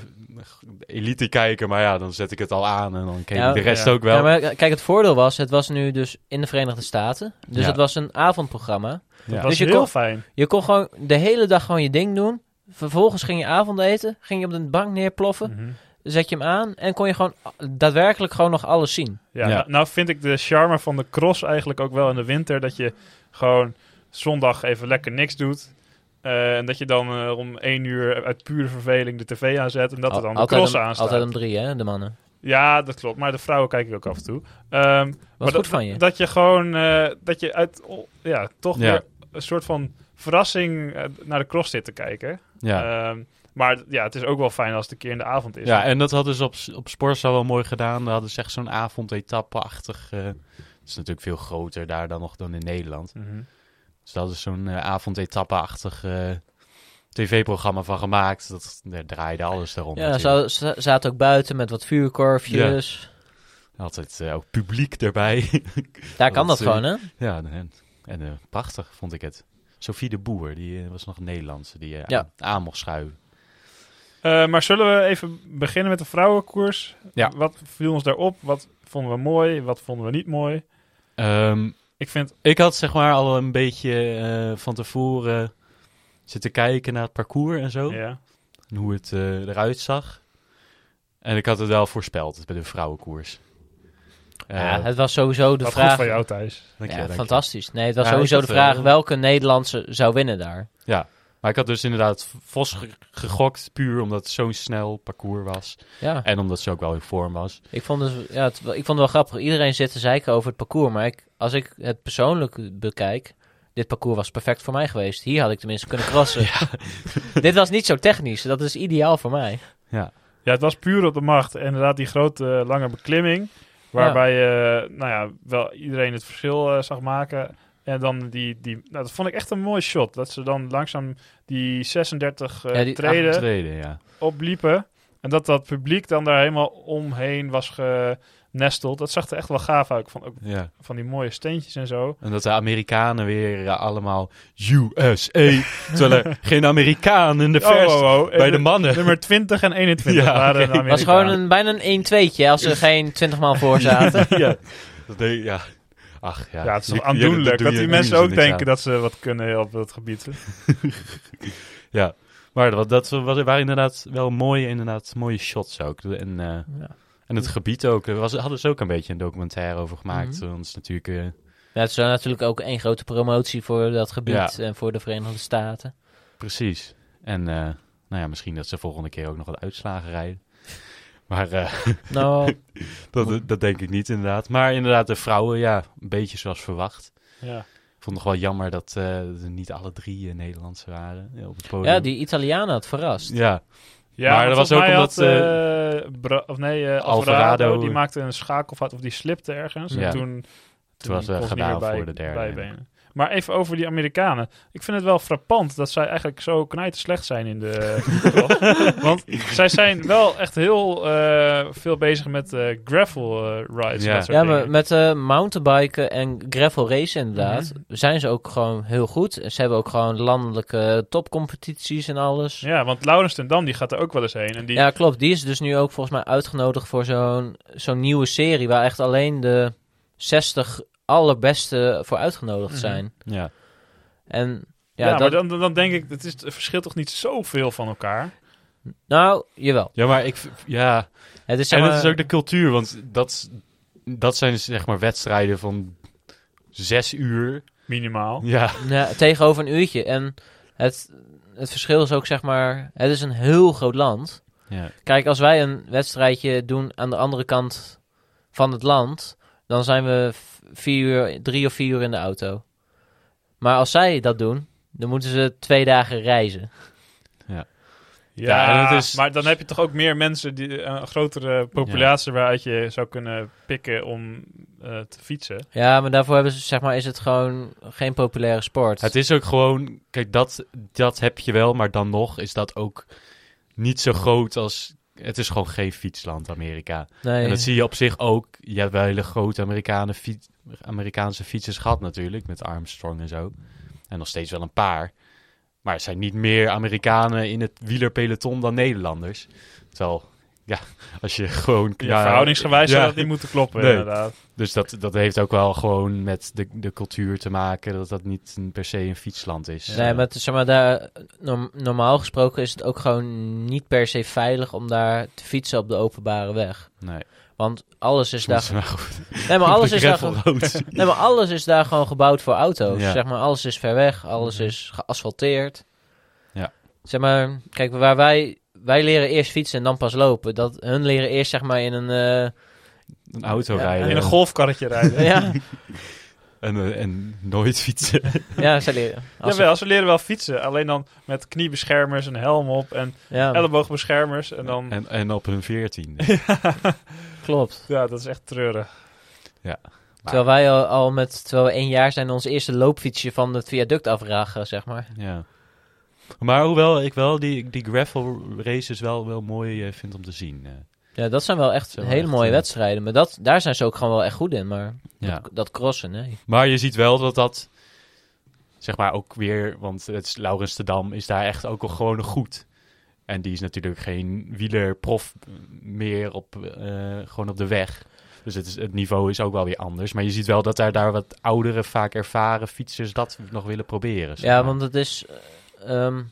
Speaker 2: de elite kijken. Maar ja, dan zet ik het al aan en dan keek
Speaker 3: Ja,
Speaker 2: ik de rest
Speaker 1: ja.
Speaker 2: ook wel.
Speaker 3: Ja, maar eh, kijk, het voordeel was, het was nu dus in de Verenigde Staten. Dus
Speaker 2: Ja.
Speaker 3: het was een avondprogramma.
Speaker 1: Dat
Speaker 2: Ja.
Speaker 1: was
Speaker 3: Dus je
Speaker 1: heel
Speaker 3: kon-
Speaker 1: fijn.
Speaker 3: Je kon gewoon de hele dag gewoon je ding doen. Vervolgens ging je avondeten, ging je op de bank neerploffen,
Speaker 1: Hm. Mhm.
Speaker 3: zet je hem aan en kon je gewoon a- daadwerkelijk gewoon nog alles zien.
Speaker 1: Ja,
Speaker 2: Ja.
Speaker 1: Nou, nou vind ik de charme van de cross eigenlijk ook wel in de winter. Dat je gewoon zondag even lekker niks doet. Eh, en dat je dan eh, om één uur uit pure verveling de tv aanzet. En dat er
Speaker 3: Al-
Speaker 1: dan de
Speaker 3: altijd
Speaker 1: cross
Speaker 3: om,
Speaker 1: aanstaat.
Speaker 3: Altijd om drie, hè, de mannen.
Speaker 1: Ja, dat klopt. Maar de vrouwen kijk ik ook af en toe. Ehm,
Speaker 3: Wat
Speaker 1: maar
Speaker 3: goed
Speaker 1: dat-
Speaker 3: van je.
Speaker 1: Dat je gewoon, eh, dat je uit, oh, ja, toch
Speaker 2: Ja.
Speaker 1: weer een soort van verrassing eh, naar de cross zit te kijken.
Speaker 2: Ja.
Speaker 1: Ehm, maar d- ja, het is ook wel fijn als het een keer in de avond is.
Speaker 2: ja, en dat hadden ze op, S- op Sporza wel mooi gedaan. Daar hadden ze echt zo'n avondetappe-achtig. eh, het is natuurlijk veel groter daar dan nog dan in Nederland.
Speaker 1: Mhm.
Speaker 2: Dus daar hadden ze zo'n eh, avondetappe-achtig eh, tv-programma van gemaakt. Dat daar draaide alles daarom.
Speaker 3: Ja,
Speaker 2: natuurlijk.
Speaker 3: ze ze zaten ook buiten met wat vuurkorfjes.
Speaker 2: Altijd eh, ook publiek erbij. [LAUGHS]
Speaker 3: Daar kan dat
Speaker 2: Dat, eh,
Speaker 3: gewoon, hè?
Speaker 2: Ja, en, en, en, eh, prachtig vond ik het. Sophie de Boer, die eh, was nog een Nederlandse, die eh,
Speaker 3: Ja.
Speaker 2: aan, aan mocht schuiven.
Speaker 1: Eh, maar zullen we even beginnen met de vrouwenkoers?
Speaker 2: Ja.
Speaker 1: Wat viel ons daarop? Wat vonden we mooi? Wat vonden we niet mooi?
Speaker 2: Ehm,
Speaker 1: Ik vind,
Speaker 2: ik had zeg maar al een beetje eh, van tevoren zitten kijken naar het parcours en zo.
Speaker 1: ja.
Speaker 2: En hoe het eh, eruit zag. En ik had het wel voorspeld bij de vrouwenkoers. Eh,
Speaker 3: ja, het was sowieso de
Speaker 1: wat
Speaker 3: vraag...
Speaker 1: goed van jou, Thijs.
Speaker 2: dank je,
Speaker 3: ja,
Speaker 2: dank je.
Speaker 3: fantastisch. Nee, het was
Speaker 2: Ja,
Speaker 3: sowieso
Speaker 2: ik
Speaker 3: de
Speaker 2: had,
Speaker 3: vraag
Speaker 2: eh,
Speaker 3: welke Nederlandse zou winnen daar.
Speaker 2: Maar ik had dus inderdaad Vos ge- gegokt, puur omdat het zo'n snel parcours was.
Speaker 3: Ja,
Speaker 2: En omdat ze ook wel in vorm was.
Speaker 3: ik vond, het, ja, het- ik vond het wel grappig. Iedereen zit te zeiken over het parcours, maar ik, als ik het persoonlijk bekijk... Dit parcours was perfect voor mij geweest. Hier had ik tenminste kunnen
Speaker 2: [LAUGHS]
Speaker 3: crossen. [LAUGHS] Dit was niet zo technisch. Dat is ideaal voor mij.
Speaker 1: Ja, het was puur op de macht. En Inderdaad, die grote eh, lange beklimming. Waarbij eh, nou ja, wel iedereen het verschil eh, zag maken. En dan die, die nou, dat vond ik echt een mooi shot. Dat ze dan langzaam die 36 eh,
Speaker 3: Ja, die
Speaker 1: treden
Speaker 2: Tweede, ja.
Speaker 1: opliepen. En dat dat publiek dan daar helemaal omheen was genesteld. Dat zag er echt wel gaaf uit. Van, ook
Speaker 2: ja.
Speaker 1: van die mooie steentjes en zo.
Speaker 2: En dat de Amerikanen weer eh, allemaal USA. terwijl
Speaker 1: [LAUGHS]
Speaker 2: er geen Amerikaan in de
Speaker 1: Oh,
Speaker 2: vers bij de mannen.
Speaker 1: Nummer 20 en 21
Speaker 2: oh, Ja,
Speaker 1: waren
Speaker 2: oké.
Speaker 1: de
Speaker 3: Het was
Speaker 1: Amerikanen.
Speaker 3: gewoon een, bijna een 1-2'tje als er geen 20 man voor
Speaker 2: [LAUGHS]
Speaker 3: zaten.
Speaker 2: ja. Dat deed, ja. Ach ja.
Speaker 1: Ja, het is
Speaker 2: Je-
Speaker 1: toch
Speaker 2: je- daar
Speaker 1: aandoenlijk.
Speaker 2: doe
Speaker 1: Dat
Speaker 2: je-
Speaker 1: die
Speaker 2: doe je
Speaker 1: mensen
Speaker 2: ze
Speaker 1: ook
Speaker 2: niks
Speaker 1: denken
Speaker 2: aan.
Speaker 1: dat ze wat kunnen op dat gebied.
Speaker 2: Ja. Maar dat, dat wa- waren inderdaad wel mooie, inderdaad, mooie shots ook. En, eh,
Speaker 3: Ja.
Speaker 2: en het gebied ook. Er was, hadden ze ook een beetje een documentaire over gemaakt.
Speaker 3: Mhm.
Speaker 2: want het is natuurlijk... eh,
Speaker 3: Ja, het is wel natuurlijk ook één grote promotie voor dat gebied en voor de Verenigde Staten.
Speaker 2: Precies. En eh, nou ja, misschien dat ze volgende keer ook nog wat uitslagen rijden. Maar eh, [LAUGHS]
Speaker 3: Nou,
Speaker 2: Dat, dat denk ik niet, inderdaad. Maar inderdaad, de vrouwen, ja, een beetje zoals verwacht.
Speaker 1: Ja.
Speaker 2: Ik vond het nog wel jammer dat eh, er niet alle drie eh, Nederlandse waren eh, op het podium.
Speaker 3: ja, die Italianen had verrast.
Speaker 2: Ja,
Speaker 1: Ja,
Speaker 2: Maar
Speaker 1: maar
Speaker 2: dat
Speaker 1: was
Speaker 2: was
Speaker 1: ook
Speaker 2: ook
Speaker 1: omdat...
Speaker 2: omdat,
Speaker 1: of nee, eh, Alvarado,
Speaker 2: Alvarado,
Speaker 1: die
Speaker 2: eh,
Speaker 1: maakte een schakelfout of die slipte ergens. En
Speaker 2: Ja.
Speaker 1: toen, toen
Speaker 2: was, eh,
Speaker 1: kon ze niet
Speaker 2: gedaan
Speaker 1: meer bij-
Speaker 2: voor de derde.
Speaker 1: bijbenen. Maar even over die Amerikanen. Ik vind het wel frappant dat zij eigenlijk zo knijterslecht zijn in de
Speaker 2: [LAUGHS]
Speaker 1: voetbal. Want zij zijn wel echt heel eh, veel bezig met eh, gravel eh, rides. en
Speaker 2: Ja.
Speaker 1: dat soort
Speaker 3: Ja, maar
Speaker 1: dingen.
Speaker 3: met eh, mountainbiken en gravel racen inderdaad zijn ze ook gewoon heel goed. Ze hebben ook gewoon landelijke topcompetities en alles. Ja,
Speaker 1: Ja, want Laurens ten Dam die gaat er ook wel eens heen. En die,
Speaker 3: klopt. Die is dus nu ook volgens mij uitgenodigd voor zo'n zo'n nieuwe serie waar echt alleen de 60 allerbeste voor uitgenodigd
Speaker 1: Mhm.
Speaker 3: zijn.
Speaker 2: Ja.
Speaker 3: En
Speaker 1: ja,
Speaker 3: ja, dat,
Speaker 1: maar dan, dan- dan denk ik, het, is, het verschilt toch niet zoveel van elkaar?
Speaker 3: nou, jawel.
Speaker 2: ja, maar ik... v- Ja,
Speaker 3: Het is, zeg
Speaker 2: en
Speaker 3: maar-
Speaker 2: dat is ook de cultuur, want dat, is- dat zijn dus, zeg maar wedstrijden van zes uur.
Speaker 1: Minimaal.
Speaker 2: Ja,
Speaker 3: [LAUGHS] Ja, nou, tegenover een uurtje. En het, het verschil is ook, zeg maar, het is een heel groot land.
Speaker 2: ja.
Speaker 3: Kijk, als wij een wedstrijdje doen aan de andere kant van het land, dan zijn we v- vier uur, drie of vier uur in de auto. Maar als zij dat doen, dan moeten ze twee dagen reizen.
Speaker 1: Ja,
Speaker 2: Ja, en het is-
Speaker 1: maar dan heb je toch ook meer mensen, die, eh, een grotere populatie waaruit je zou kunnen pikken om eh, te fietsen.
Speaker 3: Ja, maar daarvoor hebben ze, zeg maar, is het gewoon geen populaire sport.
Speaker 2: Het is ook gewoon... Kijk, dat, dat heb je wel, maar dan nog is dat ook niet zo groot als... Het is gewoon geen fietsland, Amerika.
Speaker 3: nee.
Speaker 2: En dat zie je op zich ook. Je hebt wel hele grote Amerikanen fiets- Amerikaanse fietsers gehad natuurlijk, met Armstrong en zo. En nog steeds wel een paar. Maar het zijn niet meer Amerikanen in het wielerpeloton dan Nederlanders. Terwijl, ja, als je gewoon...
Speaker 1: Ja,
Speaker 2: ja,
Speaker 1: verhoudingsgewijs eh, zou
Speaker 2: ja.
Speaker 1: dat niet moeten kloppen,
Speaker 2: Nee.
Speaker 1: inderdaad.
Speaker 2: Dus dat, dat heeft ook wel gewoon met de, de cultuur te maken, dat dat niet een- per se een fietsland is. Eh,
Speaker 3: Nee, maar, het is, zeg maar daar, norm- normaal gesproken is het ook gewoon niet per se veilig om daar te fietsen op de openbare weg.
Speaker 2: Nee,
Speaker 3: Want alles is daar.
Speaker 2: dat maar goed.
Speaker 3: Nee,
Speaker 2: [LAUGHS]
Speaker 3: maar alles is daar.
Speaker 2: Gravel
Speaker 3: ge-
Speaker 2: roads.
Speaker 3: Nee, maar alles is daar gewoon gebouwd voor auto's.
Speaker 2: Ja. Mhm.
Speaker 3: Zeg maar, alles is ver weg, alles is geasfalteerd.
Speaker 2: Ja.
Speaker 3: Zeg maar, kijk, waar wij, wij leren eerst fietsen en dan pas lopen. Dat hun leren eerst zeg maar in een. eh,
Speaker 2: Een auto
Speaker 3: Ja,
Speaker 2: rijden.
Speaker 1: In een golfkarretje rijden.
Speaker 3: ja,
Speaker 2: [LAUGHS] en, eh, en nooit fietsen.
Speaker 3: ja, ze leren. [LAUGHS] Als ze-
Speaker 1: Jawel, ze leren wel fietsen. Alleen dan met kniebeschermers en helm op en
Speaker 3: ja,
Speaker 1: elleboogbeschermers. En dan,
Speaker 2: En, en op hun veertiende.
Speaker 3: klopt.
Speaker 1: ja, dat is echt treurig.
Speaker 3: Terwijl wij al, al met terwijl we één jaar zijn ons eerste loopfietsje van het viaduct afragen, zeg maar.
Speaker 2: Ja. Maar hoewel ik wel die, die gravel races wel, wel mooi eh, vind om te zien. eh.
Speaker 3: Ja, dat zijn wel echt
Speaker 2: Zijn wel
Speaker 3: hele
Speaker 2: echt,
Speaker 3: mooie
Speaker 2: eh,
Speaker 3: wedstrijden. Maar dat, daar zijn ze ook gewoon wel echt goed in. Maar
Speaker 2: ja.
Speaker 3: dat, dat crossen, nee.
Speaker 2: Maar je ziet wel dat dat, zeg maar ook weer, want het is, Laurens de Dam is daar echt ook wel gewoon een goed. En die is natuurlijk geen wielerprof eh, meer op, eh, gewoon op de weg. Dus het, is, het niveau is ook wel weer anders. Maar je ziet wel dat daar, daar wat oudere, vaak ervaren fietsers dat nog willen proberen. zeg
Speaker 3: Ja,
Speaker 2: maar.
Speaker 3: want het is, eh, ehm,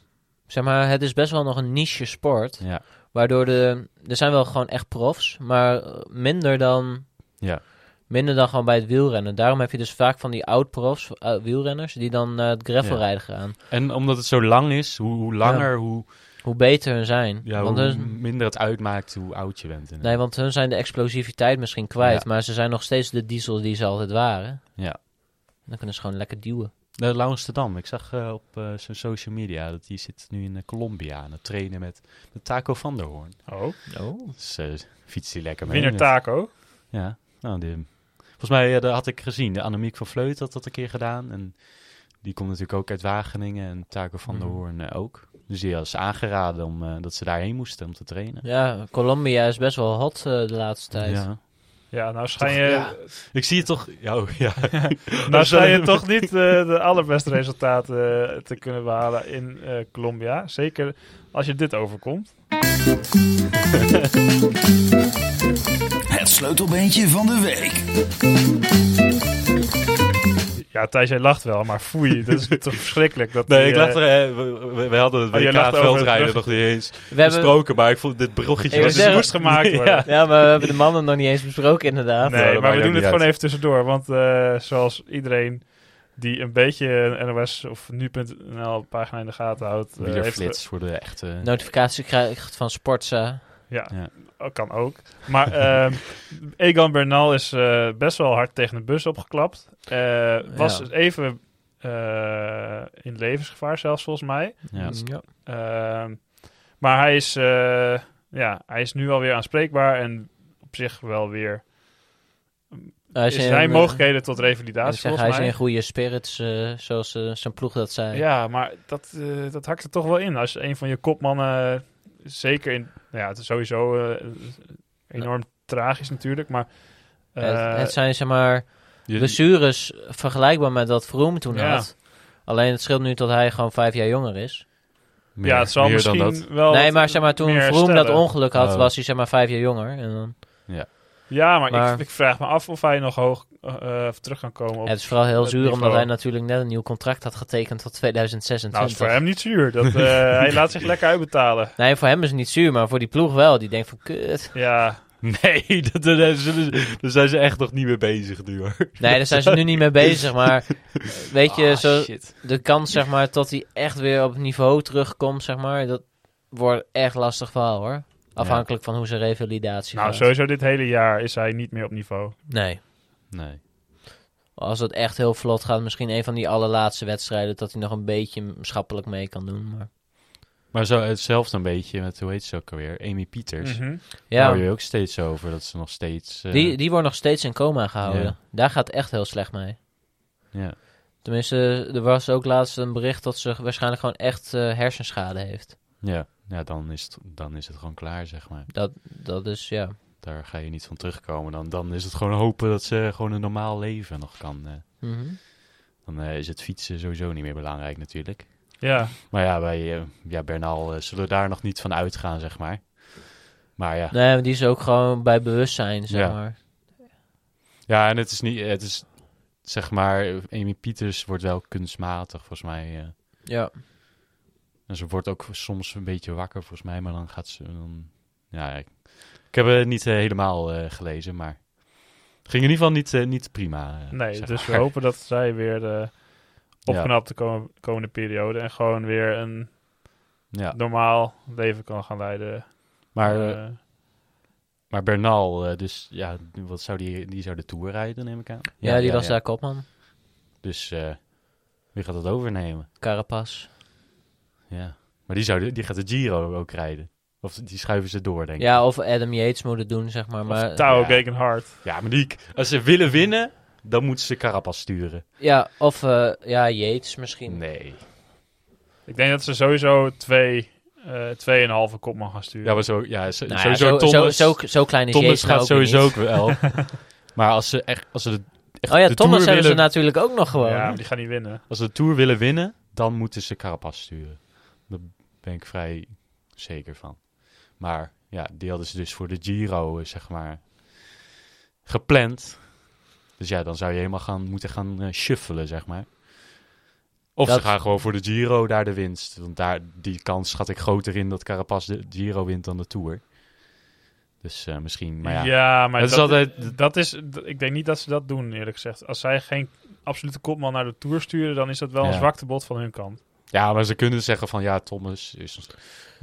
Speaker 3: zeg maar, het is best wel nog een niche sport.
Speaker 2: Ja,
Speaker 3: Waardoor de, er zijn wel gewoon echt profs, maar eh, minder dan,
Speaker 2: ja,
Speaker 3: minder dan gewoon bij het wielrennen. Daarom heb je dus vaak van die oud-profs, eh, wielrenners, die dan naar het gravelrijden gaan.
Speaker 2: en omdat het zo lang is, hoe, hoe langer, hoe,
Speaker 3: Hoe beter hun zijn.
Speaker 2: ja,
Speaker 3: want
Speaker 2: hoe
Speaker 3: hun,
Speaker 2: minder het uitmaakt hoe oud je bent. inderdaad.
Speaker 3: nee, want hun zijn de explosiviteit misschien kwijt,
Speaker 2: Ja.
Speaker 3: maar ze zijn nog steeds de diesel die ze altijd waren.
Speaker 2: Ja.
Speaker 3: Dan kunnen ze gewoon lekker duwen.
Speaker 2: De Laurens de Dam. Ik zag eh, op eh, zijn social media dat hij zit nu in eh, Colombia aan het trainen met, met Taco van der Hoorn.
Speaker 1: Oh,
Speaker 3: Oh.
Speaker 2: Dus eh, fietst hij lekker mee.
Speaker 1: winner
Speaker 2: met-
Speaker 1: taco.
Speaker 2: Ja, nou, die, volgens mij eh, dat had ik gezien. De Annemiek van Vleut had dat een keer gedaan. En die komt natuurlijk ook uit Wageningen en Taco van der
Speaker 3: Mhm.
Speaker 2: Hoorn eh, ook. Dus die was aangeraden om, eh, dat ze daarheen moesten om te trainen.
Speaker 3: Ja, Colombia is best wel hot eh, de laatste tijd.
Speaker 2: Ja.
Speaker 1: Ja, nou schijn
Speaker 2: Toch,
Speaker 1: je,
Speaker 2: ja. Ik zie het toch... Ja, oh, ja.
Speaker 1: [LAUGHS] nou schijn je
Speaker 2: Sorry.
Speaker 1: toch niet eh, de allerbeste resultaten eh, te kunnen behalen in eh, Colombia. Zeker als je dit overkomt.
Speaker 6: Het sleutelbeentje van de week.
Speaker 1: Ja, Thijs, jij lacht wel, maar
Speaker 2: [LAUGHS]
Speaker 1: foei, dat is toch verschrikkelijk. Dat
Speaker 2: Nee,
Speaker 1: die,
Speaker 2: ik
Speaker 1: eh,
Speaker 2: lacht er... eh, we- we, we hadden het
Speaker 1: Oh, jij
Speaker 2: WK
Speaker 1: lacht over het
Speaker 2: veldrijden
Speaker 1: brug-
Speaker 2: nog niet eens
Speaker 3: We hebben,
Speaker 2: besproken. Maar ik vond dit bruggetje...
Speaker 3: Ik
Speaker 1: Dus
Speaker 2: was
Speaker 3: wil
Speaker 1: het moest
Speaker 2: [LAUGHS]
Speaker 3: zeggen-
Speaker 1: gemaakt worden.
Speaker 2: Eh,
Speaker 3: ja, maar we hebben de mannen nog niet eens besproken inderdaad.
Speaker 1: Nee,
Speaker 2: Nou, dat
Speaker 1: maar
Speaker 2: maakt
Speaker 1: we
Speaker 2: ook
Speaker 1: doen
Speaker 2: niet
Speaker 1: het gewoon
Speaker 2: uit.
Speaker 1: even tussendoor. Want eh, zoals iedereen die een beetje een NOS of nu.nl pagina in de gaten houdt, eh, heeft-
Speaker 2: Wielerflits voor de echte...
Speaker 3: Nou, Notificatie krijgt van Sportza.
Speaker 1: ja,
Speaker 2: Ja.
Speaker 1: oh, kan ook.
Speaker 3: [LAUGHS]
Speaker 1: Maar ehm, Egan Bernal is eh, best wel hard tegen de bus opgeklapt. Eh, was
Speaker 3: Ja.
Speaker 1: even eh, in levensgevaar zelfs volgens mij.
Speaker 2: Ja.
Speaker 3: Ja.
Speaker 1: Ehm, maar hij is, eh, ja, hij is nu alweer aanspreekbaar en op zich wel weer mm,
Speaker 3: Hij is
Speaker 1: Er
Speaker 3: in,
Speaker 1: zijn
Speaker 3: eh,
Speaker 1: mogelijkheden tot
Speaker 3: ik
Speaker 1: revalidatie
Speaker 3: zeg,
Speaker 1: volgens
Speaker 3: hij is
Speaker 1: mij.
Speaker 3: in goede spirits, eh, zoals eh, zijn ploeg dat zei.
Speaker 1: Ja, maar dat, eh, dat hakt er toch wel in. Als een van je kopmannen, zeker in... nou Ja, het is sowieso eh, enorm tragisch natuurlijk, maar... eh,
Speaker 3: het, het zijn zeg maar
Speaker 2: Je-
Speaker 3: dus- blessures vergelijkbaar met wat Vroom toen
Speaker 1: Ja.
Speaker 3: had. Alleen het scheelt nu dat hij gewoon vijf jaar jonger is.
Speaker 2: meer-
Speaker 1: ja, het zal
Speaker 2: meer dan
Speaker 1: misschien
Speaker 2: dat.
Speaker 1: wel...
Speaker 3: nee,
Speaker 1: wat
Speaker 3: maar zeg maar toen
Speaker 1: Oh, meer
Speaker 3: Vroom dat
Speaker 1: herstellen.
Speaker 3: ongeluk had,
Speaker 2: Oh.
Speaker 3: was hij zeg maar vijf jaar jonger. En dan,
Speaker 1: Ja, maar,
Speaker 3: Maar-
Speaker 1: Ik, ik vraag me af of hij nog hoog eh, eh, terug kan komen. Op...
Speaker 3: het is vooral heel
Speaker 1: het
Speaker 3: zuur omdat
Speaker 1: niveau.
Speaker 3: hij natuurlijk net een nieuw contract had getekend tot
Speaker 1: nou, is
Speaker 3: 2026.
Speaker 1: voor hem niet zuur.
Speaker 3: [LAUGHS]
Speaker 1: Dat, eh, hij laat zich lekker uitbetalen.
Speaker 3: Nee, voor hem is het niet zuur, maar voor die ploeg wel. Die denkt van kut.
Speaker 1: Ja,
Speaker 2: Nee, dat, dat- daar, zullen ze- daar zijn ze echt nog niet mee bezig nu hoor.
Speaker 3: Nee, daar zijn ze [LAUGHS] nu niet
Speaker 1: [LAUGHS]
Speaker 3: mee bezig. Maar eh, weet je,
Speaker 2: Ah,
Speaker 3: zo,
Speaker 2: shit.
Speaker 3: de kans zeg maar dat hij echt weer op het niveau terugkomt, zeg maar, dat wordt echt lastig verhaal hoor. Afhankelijk van hoe zijn revalidatie
Speaker 1: nou
Speaker 3: gaat.
Speaker 1: sowieso dit hele jaar is hij niet meer op niveau.
Speaker 3: Nee.
Speaker 2: Nee.
Speaker 3: Als het echt heel vlot gaat, misschien een van die allerlaatste wedstrijden, dat hij nog een beetje maatschappelijk mee kan doen. Maar...
Speaker 2: Maar zo hetzelfde een beetje met, hoe heet ze ook alweer? Amy Pieters.
Speaker 1: Mhm.
Speaker 2: Daar
Speaker 3: Oh, Ja,
Speaker 2: hoor je ook steeds over dat ze nog steeds... eh,
Speaker 3: die, die wordt nog steeds in coma gehouden.
Speaker 2: Ja.
Speaker 3: Daar gaat het echt heel slecht mee.
Speaker 2: Ja.
Speaker 3: Tenminste, er was ook laatst een bericht dat ze waarschijnlijk gewoon echt eh, hersenschade heeft.
Speaker 2: Ja, ja dan, is het, dan is het gewoon klaar, zeg maar.
Speaker 3: Dat, dat is, ja.
Speaker 2: Daar ga je niet van terugkomen. Dan, dan is het gewoon hopen dat ze gewoon een normaal leven nog kan. eh.
Speaker 3: Mhm.
Speaker 2: Dan eh, is het fietsen sowieso niet meer belangrijk natuurlijk.
Speaker 1: Ja,
Speaker 2: Maar ja, wij, eh, ja Bernal eh, zullen we daar nog niet van uitgaan, zeg maar. Maar ja,
Speaker 3: Nee, maar die is ook gewoon bij bewustzijn, zeg
Speaker 2: Ja.
Speaker 3: maar.
Speaker 2: ja en het is niet... Het is, zeg maar, Amy Pieters wordt wel kunstmatig, volgens mij... eh.
Speaker 3: Ja.
Speaker 2: En ze wordt ook soms een beetje wakker, volgens mij. Maar dan gaat ze... Dan... Ja, ik, ik heb het niet eh, helemaal eh, gelezen, maar... Het ging in ieder geval niet, eh, niet prima. eh,
Speaker 1: nee.
Speaker 2: zeg
Speaker 1: Dus we
Speaker 2: maar.
Speaker 1: hopen dat zij weer eh, opknapt de kom- komende periode. En gewoon weer een
Speaker 2: [LAUGHS] Ja,
Speaker 1: normaal leven kan gaan leiden.
Speaker 2: maar, eh,
Speaker 1: Eh,
Speaker 2: maar Bernal, eh, dus ja, wat zou die, die zou de Tour rijden, neem ik aan.
Speaker 3: Ja, die was daar kopman.
Speaker 2: Dus eh, wie gaat dat overnemen?
Speaker 3: Carapas.
Speaker 2: Ja. Maar die, zou de- die gaat de Giro ook rijden. Of die schuiven ze door, denk ik.
Speaker 3: Ja, of Adam Yates moet het doen, zeg maar.
Speaker 1: of
Speaker 3: maar
Speaker 1: Tao
Speaker 2: ja.
Speaker 1: Gegenhard.
Speaker 2: Ja, maar die, als ze willen winnen, dan moeten ze Carapaz sturen.
Speaker 3: ja, of eh, ja, Yates misschien.
Speaker 2: Nee.
Speaker 1: Ik denk dat ze sowieso twee, eh tweeënhalve kopman gaan sturen.
Speaker 2: Ja, maar zo, ja, zo,
Speaker 3: Nou ja,
Speaker 2: sowieso
Speaker 3: zo,
Speaker 2: Thomas.
Speaker 3: zo, zo, zo klein is
Speaker 2: Thomas
Speaker 3: Yates nou
Speaker 2: gaat
Speaker 3: ook
Speaker 2: sowieso
Speaker 3: niet.
Speaker 2: ook
Speaker 3: [LAUGHS]
Speaker 2: wel. maar als ze echt, als ze de, echt
Speaker 3: Oh ja,
Speaker 2: de
Speaker 3: Thomas
Speaker 2: tour
Speaker 3: hebben ze
Speaker 2: willen,
Speaker 3: natuurlijk ook nog gewoon.
Speaker 1: Ja, maar die gaan niet winnen.
Speaker 2: als ze de tour willen winnen, dan moeten ze Carapaz sturen. Daar ben ik vrij zeker van. Maar ja, die hadden ze dus voor de Giro eh, zeg maar gepland. Dus ja, dan zou je helemaal gaan moeten gaan eh, shuffelen zeg maar. Of
Speaker 3: Dat-
Speaker 2: ze gaan gewoon voor de Giro daar de winst. Want daar, die kans schat ik groter in dat Carapaz de Giro wint dan de Tour. Dus eh, misschien, maar
Speaker 1: Ja,
Speaker 2: ja.
Speaker 1: maar
Speaker 2: Het
Speaker 1: dat,
Speaker 2: is altijd-
Speaker 1: dat is, d- ik denk niet dat ze dat doen, eerlijk gezegd. Als zij geen absolute kopman naar de Tour sturen, dan is dat wel
Speaker 2: Ja.
Speaker 1: een zwakte bot van hun kant.
Speaker 2: Ja, maar ze kunnen zeggen van ja, Thomas is nog-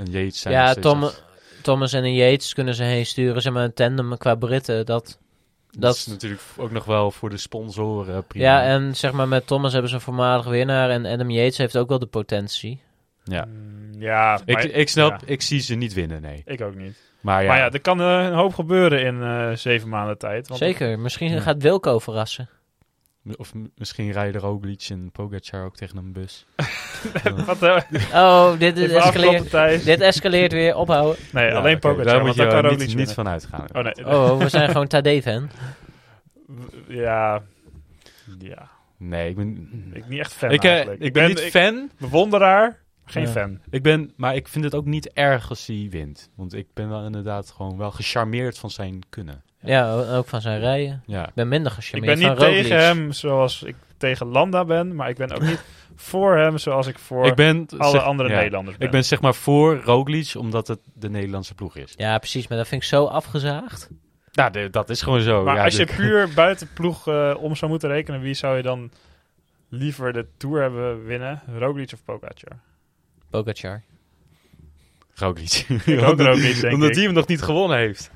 Speaker 2: en Yates zijn
Speaker 3: Ja,
Speaker 2: nog steeds
Speaker 3: Tom-
Speaker 2: dat-
Speaker 3: Thomas en een Yates kunnen ze heen sturen. Zeg maar een tandem qua Britten. Dat,
Speaker 2: dat,
Speaker 3: dat,
Speaker 2: is natuurlijk ook nog wel voor de sponsoren prima.
Speaker 3: ja, en zeg maar met Thomas hebben ze een voormalig winnaar. En Adam Yates heeft ook wel de potentie.
Speaker 2: Ja.
Speaker 1: Mm, ja
Speaker 2: ik,
Speaker 1: maar-
Speaker 2: ik snap,
Speaker 1: ja,
Speaker 2: ik zie ze niet winnen, nee.
Speaker 1: ik ook niet.
Speaker 2: Maar ja,
Speaker 1: Maar ja, er kan eh, een hoop gebeuren in eh, zeven maanden tijd. Want
Speaker 3: Zeker, misschien
Speaker 2: Ja.
Speaker 3: gaat Wilco verrassen.
Speaker 2: m- of m- misschien rijden Roglic en Pogacar ook tegen een bus.
Speaker 1: Wat, eh,
Speaker 3: Oh, dit,
Speaker 1: even afkloppen,
Speaker 3: dit, escaleert,
Speaker 1: Thijs.
Speaker 3: dit escaleert weer.
Speaker 2: [LAUGHS]
Speaker 3: Ophouden.
Speaker 1: Nee,
Speaker 2: Ja,
Speaker 1: alleen
Speaker 2: oké,
Speaker 1: Pogacar,
Speaker 2: Daar moet
Speaker 1: want
Speaker 2: je
Speaker 1: dan kan
Speaker 2: wel
Speaker 1: ook
Speaker 2: niet, niet van uitgaan.
Speaker 1: Oh nee,
Speaker 3: Oh, we zijn gewoon Tadee-fan.
Speaker 1: ja... Ja,
Speaker 2: Nee, ik ben,
Speaker 1: ik niet echt fan
Speaker 2: ik, eh,
Speaker 1: eigenlijk.
Speaker 2: ik ben, niet
Speaker 1: ik-
Speaker 2: fan.
Speaker 1: bewonderaar, geen
Speaker 2: Ja.
Speaker 1: fan.
Speaker 2: Ik ben, maar ik vind het ook niet erg als hij wint. Want ik ben wel inderdaad gewoon wel gecharmeerd van zijn kunnen.
Speaker 3: Ja, ook van zijn rijden.
Speaker 2: Ja.
Speaker 3: Ik ben minder
Speaker 1: Ik
Speaker 3: gecharmeerd
Speaker 1: ben niet
Speaker 3: van Roglic.
Speaker 1: tegen hem zoals ik tegen Landa ben, maar ik ben ook niet voor hem zoals ik voor
Speaker 2: Ik ben,
Speaker 1: alle
Speaker 2: zeg-
Speaker 1: andere
Speaker 2: ja.
Speaker 1: Nederlanders ben.
Speaker 2: Ik ben zeg maar voor Roglic, omdat het de Nederlandse ploeg is.
Speaker 3: Ja, precies, maar dat vind ik zo afgezaagd.
Speaker 2: Nou, de- dat is gewoon zo.
Speaker 1: maar
Speaker 2: ja,
Speaker 1: als je
Speaker 2: de- [LAUGHS]
Speaker 1: puur buiten ploeg eh, om zou moeten rekenen, wie zou je dan liever de Tour hebben winnen? Roglic of Pogacar?
Speaker 3: Pogacar.
Speaker 2: Roglic. [LAUGHS]
Speaker 1: Ik ook Roglic, denk
Speaker 2: Omdat
Speaker 1: ik.
Speaker 2: hij hem nog niet gewonnen heeft.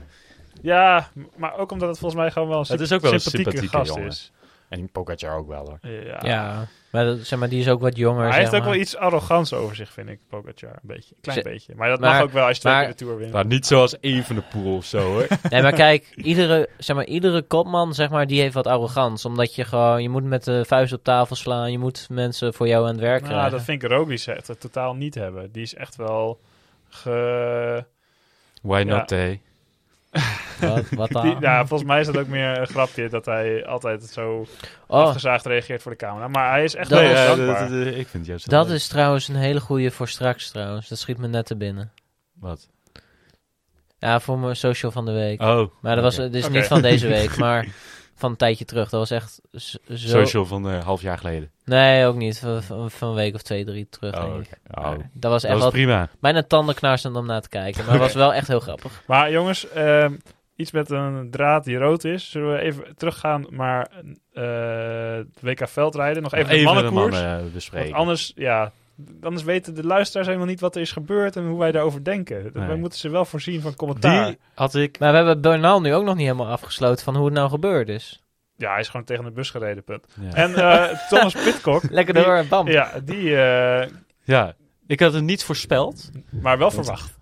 Speaker 1: Ja, m- maar ook omdat het volgens mij gewoon wel een
Speaker 2: Het
Speaker 1: symp-
Speaker 2: is ook wel een
Speaker 1: sympathieke,
Speaker 2: sympathieke
Speaker 1: gast
Speaker 2: jongen.
Speaker 1: is.
Speaker 2: En Pogacar ook wel hoor.
Speaker 1: Ja.
Speaker 3: Ja. Maar, dat, zeg maar die is ook wat jonger.
Speaker 1: hij
Speaker 3: zeg
Speaker 1: heeft ook
Speaker 3: maar.
Speaker 1: wel iets arrogants over zich, vind ik, Pogacar. Een beetje, een klein
Speaker 3: Ze-
Speaker 1: beetje. Maar dat mag
Speaker 3: maar-
Speaker 1: ook wel als je twee
Speaker 3: maar-
Speaker 1: keer de Tour wint.
Speaker 2: Nou, niet zoals even de pool of zo, hoor.
Speaker 1: [LAUGHS]
Speaker 3: Nee, maar kijk, iedere, zeg maar, iedere kopman, zeg maar, die heeft wat arrogant. Omdat je gewoon, je moet met de vuist op tafel slaan. Je moet mensen voor jou aan het werk
Speaker 1: Nou,
Speaker 3: krijgen.
Speaker 1: dat vind ik Roglic echt eh, totaal niet hebben. Die is echt wel ge...
Speaker 2: [LAUGHS] Why
Speaker 1: not,
Speaker 2: not, eh? hè?
Speaker 3: Wat,
Speaker 1: [LAUGHS]
Speaker 3: wat dan?
Speaker 2: Ah.
Speaker 1: Die- ja, volgens mij is dat ook meer een grapje dat hij altijd zo
Speaker 3: oh,
Speaker 1: afgezaagd reageert voor de camera. Maar hij is echt
Speaker 3: Dat
Speaker 1: wel
Speaker 3: is-
Speaker 1: heel
Speaker 2: dat-
Speaker 1: dankbaar.
Speaker 2: dat- ik vind het juist wel
Speaker 3: dat
Speaker 2: leuk.
Speaker 3: is trouwens een hele goede voor straks trouwens. Dat schiet me net te binnen.
Speaker 2: Wat?
Speaker 3: Ja, voor mijn social van de week.
Speaker 2: Oh,
Speaker 3: Maar dat was,
Speaker 2: Oké.
Speaker 3: dit is
Speaker 1: Oké.
Speaker 3: niet van deze
Speaker 1: [LAUGHS]
Speaker 3: week, maar van een tijdje terug. Dat was echt z- zo...
Speaker 2: social van een half jaar geleden.
Speaker 3: Nee, ook niet. Van, van- van een week of twee, drie terug.
Speaker 2: Oh,
Speaker 3: denk ik.
Speaker 2: oké. Oh,
Speaker 3: Maar Dat was echt
Speaker 2: dat was
Speaker 3: wel
Speaker 2: prima.
Speaker 3: bijna tandenknarsend om naar te kijken. Maar het was wel echt heel grappig.
Speaker 1: Maar jongens, ehm, iets met een draad die rood is. Zullen we even teruggaan naar eh, het WK veldrijden? Nog even, de mannenkoers.
Speaker 2: mannen eh, bespreken.
Speaker 1: Want anders, ja, anders weten de luisteraars helemaal niet wat er is gebeurd en hoe wij daarover denken. Dat-
Speaker 2: Nee.
Speaker 1: Wij moeten ze wel voorzien van commentaar.
Speaker 2: Die had ik...
Speaker 3: Maar we hebben Bernal nu ook nog niet helemaal afgesloten van hoe het nou gebeurd is.
Speaker 1: Ja, hij is gewoon tegen de bus gereden, punt.
Speaker 2: Ja.
Speaker 1: En eh, Thomas Pitcock.
Speaker 3: [LAUGHS] Lekker
Speaker 1: die-
Speaker 3: door, bam.
Speaker 1: Ja, die, eh,
Speaker 2: ja, ik had het niet voorspeld.
Speaker 1: maar wel verwacht.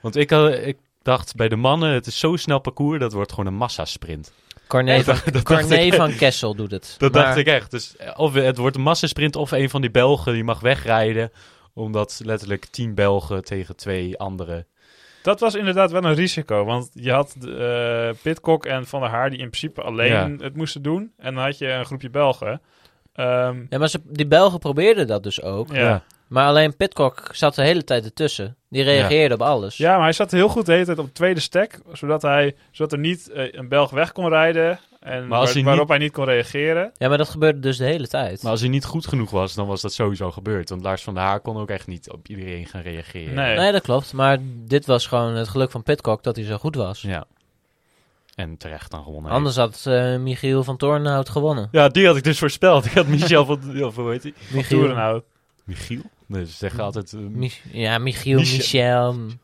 Speaker 2: Want ik, had, ik dacht bij de mannen, het is zo snel parcours, dat wordt gewoon een massasprint.
Speaker 3: Corné
Speaker 2: Dat
Speaker 3: van,
Speaker 2: dacht- [LAUGHS] dat dacht
Speaker 3: Corné
Speaker 2: ik-
Speaker 3: van Kessel doet het.
Speaker 2: Dat
Speaker 3: Maar
Speaker 2: dacht ik echt. Dus eh, of het wordt een massasprint of een van die Belgen die mag wegrijden. Omdat letterlijk tien Belgen tegen twee anderen.
Speaker 1: Dat was inderdaad wel een risico. Want je had eh Pitcock en Van der Haar die in principe alleen het moesten doen. En dan had je een groepje Belgen. Ehm,
Speaker 3: Ja, maar ze, die Belgen probeerden dat dus ook.
Speaker 1: ja. Ja.
Speaker 3: Maar alleen Pitcock zat de hele tijd ertussen. Die reageerde op alles.
Speaker 1: maar hij zat heel goed de hele tijd op de tweede stek. Zodat, hij, zodat er niet eh, een Belg weg kon rijden. En
Speaker 2: Maar als
Speaker 1: waar-
Speaker 2: hij
Speaker 1: waarop hij niet kon reageren.
Speaker 3: Ja, maar dat gebeurde dus de hele tijd.
Speaker 2: Maar als hij niet goed genoeg was, dan was dat sowieso gebeurd. Want Lars van der Haar kon ook echt niet op iedereen gaan reageren.
Speaker 1: Nee.
Speaker 3: Nee, dat klopt. Maar dit was gewoon het geluk van Pitcock dat hij zo goed was.
Speaker 2: Ja. En terecht dan gewonnen. heeft.
Speaker 3: Anders had eh, Michiel van Toornhout gewonnen.
Speaker 2: Ja, die had ik dus voorspeld. [LAUGHS] Ik had Michel van... Of hoe heet hij?
Speaker 3: Michiel.
Speaker 1: Toerenhout.
Speaker 2: Michiel? Nee, ze zeggen altijd... eh,
Speaker 3: Mich- ja, Michiel,
Speaker 2: Michel.
Speaker 3: Michel.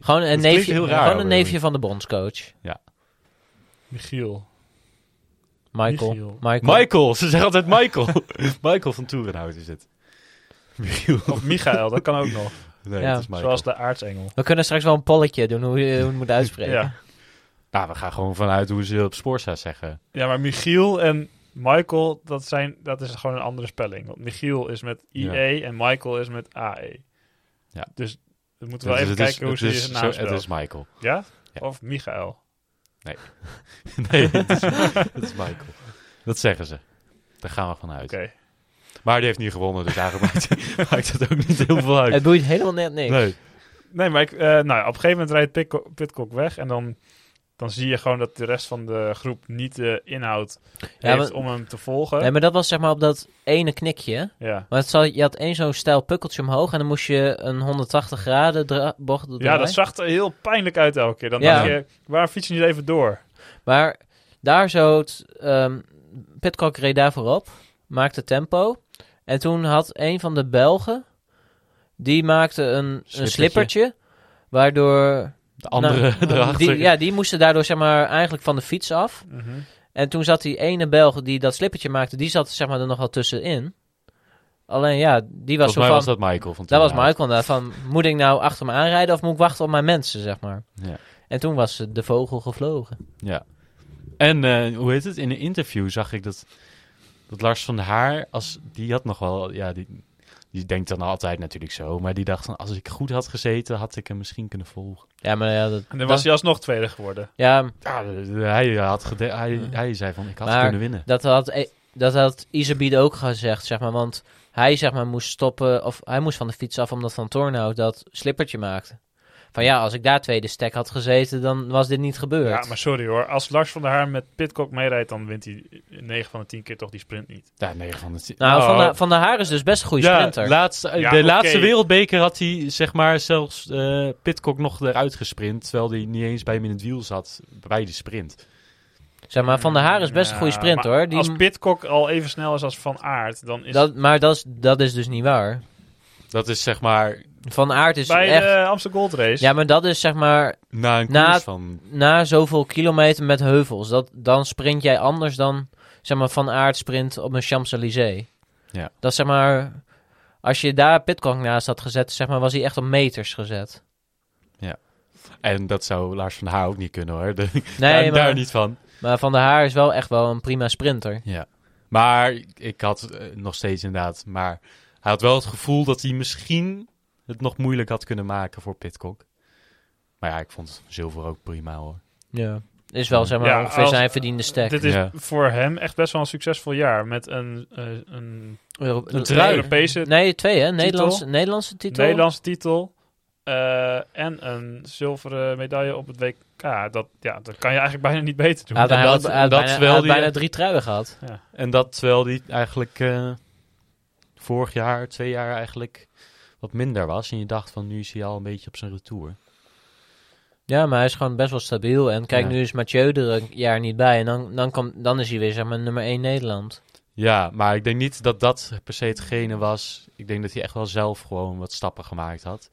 Speaker 3: Gewoon een
Speaker 2: klinkt
Speaker 3: neefje,
Speaker 2: heel raar
Speaker 3: gewoon een
Speaker 2: ook,
Speaker 3: neefje van de bondscoach.
Speaker 1: Michiel.
Speaker 3: Michael.
Speaker 1: Michiel.
Speaker 3: Michael.
Speaker 2: Michael! Ze zeggen altijd Michael. [LAUGHS] Michael van Toerenhout is het. Michiel.
Speaker 1: Of Michael, dat kan ook nog.
Speaker 2: Nee,
Speaker 3: Ja.
Speaker 2: het is Michael.
Speaker 1: Zoals de aartsengel.
Speaker 3: We kunnen straks wel een polletje doen hoe je, hoe je het moet uitspreken.
Speaker 1: Ja.
Speaker 2: Nou, we gaan gewoon vanuit hoe ze op Sporza zeggen.
Speaker 1: ja, maar Michiel en Michael, dat, zijn, dat is gewoon een andere spelling. Want Michiel is met IE en Michael is met AE.
Speaker 2: Ja.
Speaker 1: Dus we moeten wel
Speaker 2: Het is-
Speaker 1: even
Speaker 2: dus het is-
Speaker 1: kijken hoe
Speaker 2: het
Speaker 1: ze
Speaker 2: is
Speaker 1: je naam
Speaker 2: zo- Het
Speaker 1: spellen.
Speaker 2: is Michael. [LAUGHS]
Speaker 1: Ja?
Speaker 2: Ja.
Speaker 1: Of Michael.
Speaker 2: Nee, het is, [LAUGHS] het is Michael. Dat zeggen ze. Daar gaan we vanuit.
Speaker 1: Oké.
Speaker 2: Maar die heeft niet gewonnen, dus eigenlijk maakt, [LAUGHS] maakt het ook niet heel veel
Speaker 3: Het
Speaker 2: uit.
Speaker 3: boeit helemaal net niks.
Speaker 2: Nee.
Speaker 1: Nee, maar ik, eh, nou, ja, op een gegeven moment rijdt Pitco- Pitcock weg en dan, dan zie je gewoon dat de rest van de groep niet de inhoud heeft
Speaker 3: maar-
Speaker 1: om hem te volgen.
Speaker 3: Nee, maar dat was zeg maar op dat ene knikje.
Speaker 1: ja.
Speaker 3: Want het zal- je had één zo'n stijl pukkeltje omhoog en dan moest je een 180 graden dra- bocht doen.
Speaker 1: ja, dat zag er heel pijnlijk uit elke keer. Dan
Speaker 3: Ja.
Speaker 1: dacht je, waar fiets je niet even door?
Speaker 3: Maar daar zo, het, ehm Pitcock reed daar voorop, maakte tempo. En toen had een van de Belgen, die maakte een slippertje,
Speaker 2: Slippertje.
Speaker 3: een slippertje waardoor...
Speaker 2: De andere [LAUGHS]
Speaker 3: nou,
Speaker 2: erachter.
Speaker 3: [LAUGHS] die, ja, die moesten daardoor zeg maar eigenlijk van de fiets af.
Speaker 1: Mhm.
Speaker 3: En toen zat die ene Belg die dat slippertje maakte, die zat zeg maar er nogal tussenin. Alleen ja, die was
Speaker 2: Volgens mij
Speaker 3: zo van...
Speaker 2: was dat Michael van
Speaker 3: Dat was
Speaker 2: Toerenhout.
Speaker 3: Michael daar van, moet ik nou achter me aanrijden of moet ik wachten op mijn mensen, zeg maar.
Speaker 2: Ja.
Speaker 3: En toen was de vogel gevlogen.
Speaker 2: Ja. En eh, hoe heet het? In een interview zag ik dat, dat Lars van der Haar, als, die had nog wel, ja, die, die denkt dan altijd natuurlijk zo, maar die dacht van, als ik goed had gezeten, had ik hem misschien kunnen volgen.
Speaker 3: Ja, maar ja, dat,
Speaker 1: En dan
Speaker 3: dat-
Speaker 1: was hij alsnog tweede geworden.
Speaker 3: ja,
Speaker 2: Ja, eh, hij, had gede- hij, hij zei van, ik had
Speaker 3: Maar-
Speaker 2: kunnen winnen.
Speaker 3: dat had, eh, dat had Isabied ook gezegd, zeg maar. Want hij, zeg maar, moest stoppen, of hij moest van de fiets af omdat Van Tornhout dat slippertje maakte. Van ja, als ik daar tweede stek had gezeten, dan was dit niet gebeurd.
Speaker 1: Ja, maar sorry hoor. Als Lars van der Haar met Pitcock meerijdt, dan wint hij 9 van de 10 keer toch die sprint niet.
Speaker 2: Ja, nee, van het...
Speaker 3: Nou,
Speaker 2: Oh.
Speaker 3: Van, der, van der Haar is dus best een goede
Speaker 2: ja,
Speaker 3: sprinter.
Speaker 2: laatste, eh,
Speaker 1: Ja,
Speaker 2: de
Speaker 1: oké.
Speaker 2: laatste wereldbeker had hij, zeg maar, zelfs eh Pitcock nog eruit gesprint, terwijl hij niet eens bij hem in het wiel zat, bij de sprint.
Speaker 3: Zeg maar, Van der Haar is best een
Speaker 1: Ja,
Speaker 3: goede sprinter,
Speaker 1: maar
Speaker 3: hoor. Die,
Speaker 1: Als Pitcock al even snel is als Van Aert, dan is
Speaker 3: dat, maar dat is, dat is dus niet waar.
Speaker 2: Dat is, zeg maar,
Speaker 3: Van Aert is
Speaker 1: bij
Speaker 3: echt...
Speaker 1: de Amsterdam Gold Race.
Speaker 3: Ja, maar dat is zeg maar
Speaker 2: na een koers
Speaker 3: Na-
Speaker 2: van...
Speaker 3: na zoveel kilometer met heuvels. Dat, dan sprint jij anders dan zeg maar, Van Aert sprint op een Champs-Élysées.
Speaker 2: Ja.
Speaker 3: Dat is, zeg maar, als je daar Pitcock naast had gezet, zeg maar, was hij echt op meters gezet.
Speaker 2: En dat zou Lars van der Haar ook niet kunnen hoor. [LAUGHS] De-
Speaker 3: Nee,
Speaker 2: daar,
Speaker 3: maar-
Speaker 2: daar niet van.
Speaker 3: Maar Van der Haar is wel echt wel een prima sprinter.
Speaker 2: Ja. Maar ik had eh, nog steeds inderdaad. Maar hij had wel het gevoel dat hij misschien het nog moeilijk had kunnen maken voor Pitcock. Maar ja, ik vond zilver ook prima hoor.
Speaker 3: Ja. Is wel, zeg maar,
Speaker 1: Ja,
Speaker 3: ongeveer
Speaker 1: als-
Speaker 3: zijn verdiende stack.
Speaker 1: Dit is
Speaker 2: Ja.
Speaker 1: voor hem echt best wel een succesvol jaar. Met een, eh, een
Speaker 3: Euro-
Speaker 2: Een
Speaker 3: Nee,
Speaker 2: trui.
Speaker 1: Europese
Speaker 3: Nee, twee, hè? Nederlandse, Nederlandse titel.
Speaker 1: Nederlandse titel. eh, en een zilveren medaille op het WK. Dat, ja, dat kan je eigenlijk bijna niet beter doen.
Speaker 3: Hij had,
Speaker 2: En
Speaker 3: hij had-
Speaker 2: dat-
Speaker 3: hij had
Speaker 2: dat
Speaker 3: bijna,
Speaker 2: wel
Speaker 3: hij had
Speaker 2: die-
Speaker 3: bijna drie truien gehad.
Speaker 2: En dat terwijl hij eigenlijk eh, vorig jaar, twee jaar eigenlijk wat minder was. En je dacht van nu is hij al een beetje op zijn retour.
Speaker 3: Ja, maar hij is gewoon best wel stabiel. En kijk,
Speaker 2: Ja.
Speaker 3: nu is Mathieu er een jaar niet bij. En dan, dan, komt, dan is hij weer, zeg maar, nummer 1 Nederland.
Speaker 2: Ja, maar ik denk niet dat dat per se hetgene was. Ik denk dat hij echt wel zelf gewoon wat stappen gemaakt had.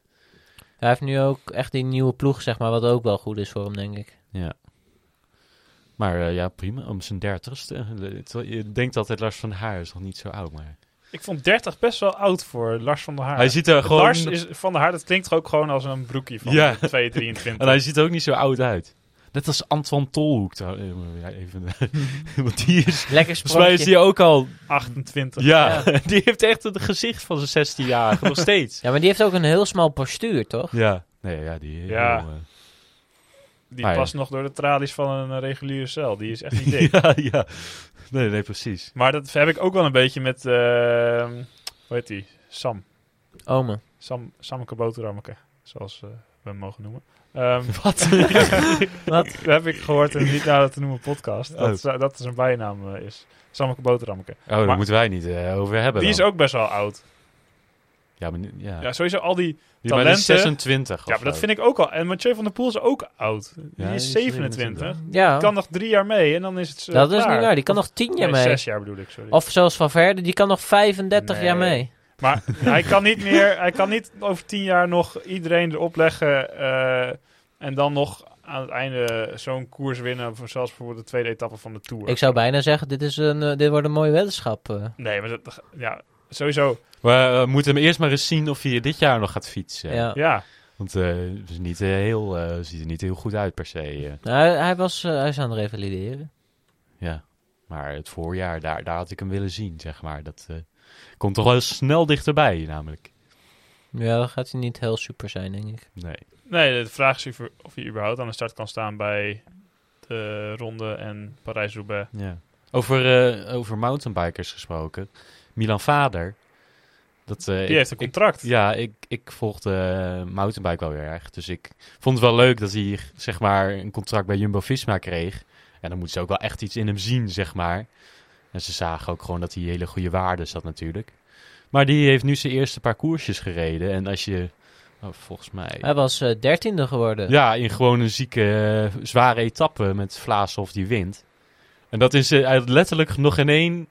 Speaker 3: Hij heeft nu ook echt die nieuwe ploeg, zeg maar, wat ook wel goed is voor hem, denk ik.
Speaker 2: Ja. Maar eh, ja, prima. Om zijn dertigste. Je denkt altijd Lars van der Haar is nog niet zo oud, maar...
Speaker 1: Ik vond 30 best wel oud voor Lars van der Haar.
Speaker 2: Hij ziet er gewoon...
Speaker 1: Lars is van der Haar, dat klinkt toch ook gewoon als een broekie van
Speaker 2: Ja.
Speaker 1: 2,23.
Speaker 2: [LAUGHS] En hij ziet er ook niet zo oud uit. Net als Antoine Tolhoek. trouw- eh, maar ja, [LAUGHS] Even, want die is...
Speaker 1: [LAUGHS]
Speaker 3: Lekker
Speaker 2: Volgens mij is
Speaker 3: sprongje.
Speaker 2: die ook al...
Speaker 1: 28.
Speaker 2: Ja, [LAUGHS] die heeft echt het gezicht van zijn 16-jarige. [LAUGHS] nog steeds.
Speaker 3: Ja, maar die heeft ook een heel smal postuur, toch?
Speaker 2: Ja. Nee, ja, die...
Speaker 1: Ja.
Speaker 2: heel, eh,
Speaker 1: Die
Speaker 2: Ah, ja.
Speaker 1: past nog door de tralies van een eh, reguliere cel. Die is echt
Speaker 2: [LAUGHS]
Speaker 1: niet dik.
Speaker 2: ja, ja. Nee, nee, precies.
Speaker 1: Maar dat heb ik ook wel een beetje met... eh, hoe heet die? Sam.
Speaker 3: Ome.
Speaker 1: Sam, Samke Boterhammeke. Zoals eh, we hem mogen noemen.
Speaker 2: [LAUGHS]
Speaker 1: Ehm, [LAUGHS]
Speaker 2: Wat?
Speaker 3: Wat?
Speaker 1: Dat heb ik gehoord in niet nader te noemen podcast.
Speaker 2: Oh.
Speaker 1: Dat, is- dat zijn bijnaam eh, is. Sammeke Boterhammeke.
Speaker 2: Oh, daar
Speaker 1: Maar-
Speaker 2: moeten wij niet eh, over hebben
Speaker 1: Die is
Speaker 2: dan.
Speaker 1: ook best wel oud.
Speaker 2: Ja, maar... nu- Ja.
Speaker 1: Ja, sowieso al die...
Speaker 2: Die maar die
Speaker 1: talenten-
Speaker 2: is 26 of
Speaker 1: Ja, maar dat
Speaker 2: zo.
Speaker 1: vind ik ook al. En Mathieu van der Poel is ook oud. Die
Speaker 2: die
Speaker 1: is
Speaker 2: is
Speaker 1: 27.
Speaker 2: 27.
Speaker 3: Ja,
Speaker 1: Kan nog drie jaar mee en dan is het eh,
Speaker 3: dat is niet
Speaker 1: klaar.
Speaker 3: waar. Die kan nog 10
Speaker 1: Nee,
Speaker 3: jaar mee.
Speaker 1: zes jaar bedoel ik, sorry.
Speaker 3: Of zoals Van Verde, die kan nog 35 jaar
Speaker 1: Nee.
Speaker 3: mee.
Speaker 1: Maar hij kan niet meer... Hij kan niet over tien jaar nog iedereen erop leggen... eh, en dan nog aan het einde zo'n koers winnen. voor- Zoals bijvoorbeeld de tweede etappe van de Tour.
Speaker 3: Ik zou bijna zeggen, dit, is een, eh, dit wordt een mooie weddenschap. eh.
Speaker 1: Nee, maar dat... Ja, sowieso.
Speaker 2: We eh, moeten hem eerst maar eens zien of hij dit jaar nog gaat fietsen.
Speaker 3: ja.
Speaker 1: Ja.
Speaker 2: Want eh, het is niet, eh, heel, eh, ziet er niet heel goed uit per se. eh.
Speaker 3: Nou, hij, hij was, eh, hij is aan het revalideren.
Speaker 2: ja. Maar het voorjaar, daar, daar had ik hem willen zien, zeg maar. Dat eh, komt toch wel snel dichterbij, namelijk.
Speaker 3: Ja, dan gaat hij niet heel super zijn, denk ik.
Speaker 2: Nee.
Speaker 1: Nee, de vraag is of je- of je überhaupt aan de start kan staan bij de Ronde en Parijs-Roubaix.
Speaker 2: Ja. Over, eh, over mountainbikers gesproken. Milan Vader. Dat, eh,
Speaker 1: Die
Speaker 2: ik-
Speaker 1: heeft een
Speaker 2: ik-
Speaker 1: contract.
Speaker 2: Ja, ik, ik volgde eh, mountainbike wel weer erg. Dus ik vond het wel leuk dat hij zeg maar, een contract bij Jumbo-Visma kreeg. En dan moeten ze ook wel echt iets in hem zien, zeg maar. En ze zagen ook gewoon dat hij hele goede waarden zat natuurlijk. Maar die heeft nu zijn eerste paar koersjes gereden. En als je, oh, volgens mij...
Speaker 3: Hij was eh, dertiende geworden.
Speaker 2: Ja, in gewoon een zieke, eh, zware etappe met Vlaashoff die wint. En dat is eh, hij had letterlijk nog in één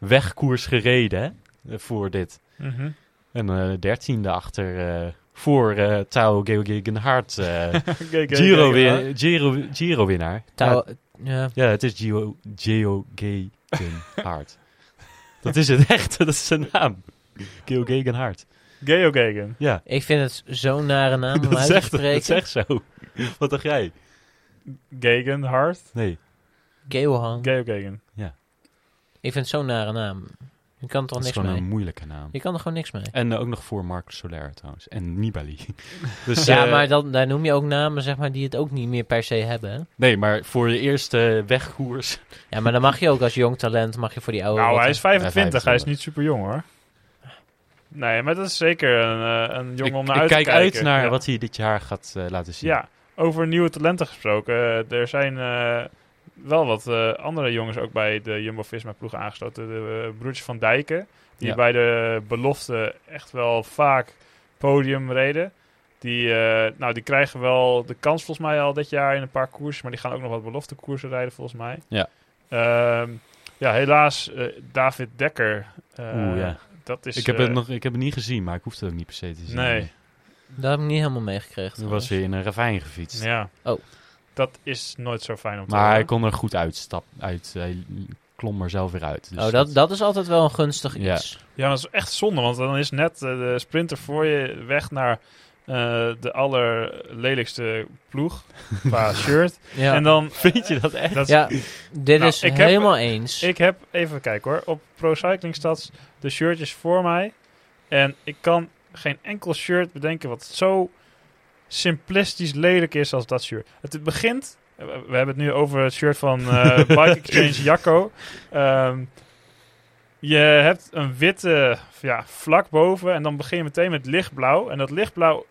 Speaker 2: wegkoers gereden hè, voor dit.
Speaker 1: Mhm. [LAUGHS]
Speaker 2: En eh dertiende achter eh, voor eh Tao
Speaker 3: [LAUGHS]
Speaker 2: Geoghegenhard. eh
Speaker 1: Oké, oké,
Speaker 2: Giro,
Speaker 1: oké,
Speaker 2: win-
Speaker 1: maar-
Speaker 2: Giro, Giro winnaar.
Speaker 3: Tau-
Speaker 2: Ja,
Speaker 3: ja.
Speaker 2: ja, het is Gio, Geoghegenhard. [LAUGHS] dat is het echt, dat is zijn naam. Geoghegenhard.
Speaker 1: Geo Gegen.
Speaker 2: Ja,
Speaker 3: Ik vind het zo'n nare
Speaker 2: [LAUGHS]
Speaker 3: naam om
Speaker 2: dat
Speaker 3: uit te
Speaker 2: zegt, dat
Speaker 3: spreken.
Speaker 2: zegt zo. Wat dacht jij?
Speaker 1: Gegen, Hart.
Speaker 2: Nee.
Speaker 3: Geohan.
Speaker 1: Geo Gegen.
Speaker 3: Ik vind het zo'n nare naam. Je kan er toch
Speaker 2: Dat is
Speaker 3: niks
Speaker 2: gewoon
Speaker 3: mee?
Speaker 2: een moeilijke naam.
Speaker 3: Je kan er gewoon niks mee.
Speaker 2: En eh, ook nog voor Marc Soler trouwens. En
Speaker 1: [LAUGHS]
Speaker 2: Nibali. dus,
Speaker 3: ja,
Speaker 2: eh,
Speaker 3: maar dan, daar noem je ook namen zeg maar, die het ook niet meer per se hebben. hè?
Speaker 2: Nee, maar voor de eerste
Speaker 1: [LAUGHS]
Speaker 2: wegkoers.
Speaker 3: Ja, maar dan mag je ook als jong talent mag je voor die oude...
Speaker 1: Nou,
Speaker 3: rotten.
Speaker 1: hij is 25. Hij is
Speaker 2: 25.
Speaker 1: niet super jong hoor. Nee, maar dat is zeker een, eh, een
Speaker 2: Ik,
Speaker 1: jong om
Speaker 2: ik
Speaker 1: naar uit
Speaker 2: kijk
Speaker 1: te kijken.
Speaker 2: uit naar
Speaker 1: ja.
Speaker 2: wat hij dit jaar gaat eh, laten zien.
Speaker 1: Ja, over nieuwe talenten gesproken. eh, er zijn eh, wel wat eh, andere jongens ook bij de Jumbo-Visma-ploeg aangesloten. De eh, broertjes van Dijken, die
Speaker 2: Ja.
Speaker 1: bij de belofte echt wel vaak podium reden. Die, eh, nou, die krijgen wel de kans volgens mij al dit jaar in een paar koersen. Maar die gaan ook nog wat belofte koersen rijden volgens mij.
Speaker 2: Ja.
Speaker 1: Ehm, ja, helaas eh, David Dekker. eh,
Speaker 2: Oeh, ja.
Speaker 1: Dat is,
Speaker 2: ik, heb
Speaker 1: eh,
Speaker 2: het nog, ik heb het niet gezien, maar ik hoefde het ook niet per se te zien.
Speaker 1: Nee.
Speaker 3: Dat heb ik niet helemaal meegekregen.
Speaker 2: Er was weer in een ravijn gefietst.
Speaker 1: Ja.
Speaker 3: Oh.
Speaker 1: Dat is nooit zo fijn om te
Speaker 2: Maar hij
Speaker 1: horen.
Speaker 2: kon er goed uitstap, uit, hij klom er zelf weer uit. Dus
Speaker 3: oh, dat, dat is altijd wel een gunstig
Speaker 2: Ja.
Speaker 3: iets.
Speaker 1: Ja, maar dat is echt zonde, want dan is net eh, de sprinter voor je weg naar eh, de allerlelijkste ploeg qua shirt.
Speaker 3: Ja, ja.
Speaker 1: En dan
Speaker 2: Vind je dat echt?
Speaker 1: dat is-
Speaker 3: [LAUGHS] ja dit
Speaker 1: Nou,
Speaker 3: is
Speaker 1: ik heb-
Speaker 3: helemaal eens.
Speaker 1: Ik heb, even kijken hoor, op Pro Cycling Stats de shirtjes voor mij. En ik kan geen enkel shirt bedenken wat zo simplistisch lelijk is als dat shirt. Het begint, eh, we hebben het nu over het shirt van
Speaker 2: [LAUGHS]
Speaker 1: eh, Bike Exchange Jacco. Ehm, je hebt een witte ja, vlak boven en dan begin je meteen met lichtblauw. En dat lichtblauw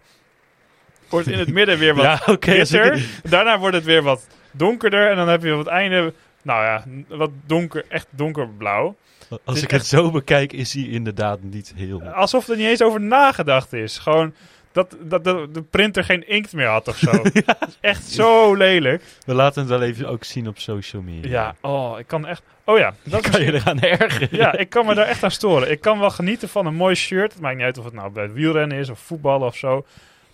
Speaker 1: wordt in het midden
Speaker 2: [LAUGHS]
Speaker 1: weer wat
Speaker 2: ja, oké. als ik-
Speaker 1: witter. Daarna wordt het weer wat donkerder. En dan heb je op het einde, nou ja, n- wat donker, echt donkerblauw.
Speaker 2: Als
Speaker 1: is
Speaker 2: ik het zo bekijk, is hij inderdaad niet heel.
Speaker 1: Alsof er niet eens over nagedacht is. Gewoon dat, dat, dat de printer geen inkt meer had of zo.
Speaker 2: [LAUGHS]
Speaker 1: Dat is echt zo lelijk.
Speaker 2: We laten het wel even ook zien op social media.
Speaker 1: Ja, oh, ik kan echt... Oh ja, dat
Speaker 2: [LAUGHS] kan je eraan ergeren.
Speaker 1: Ja, ik kan me daar echt aan storen. Ik kan wel genieten van een mooi shirt. Het maakt niet uit of het nou bij het wielrennen is of voetballen of zo.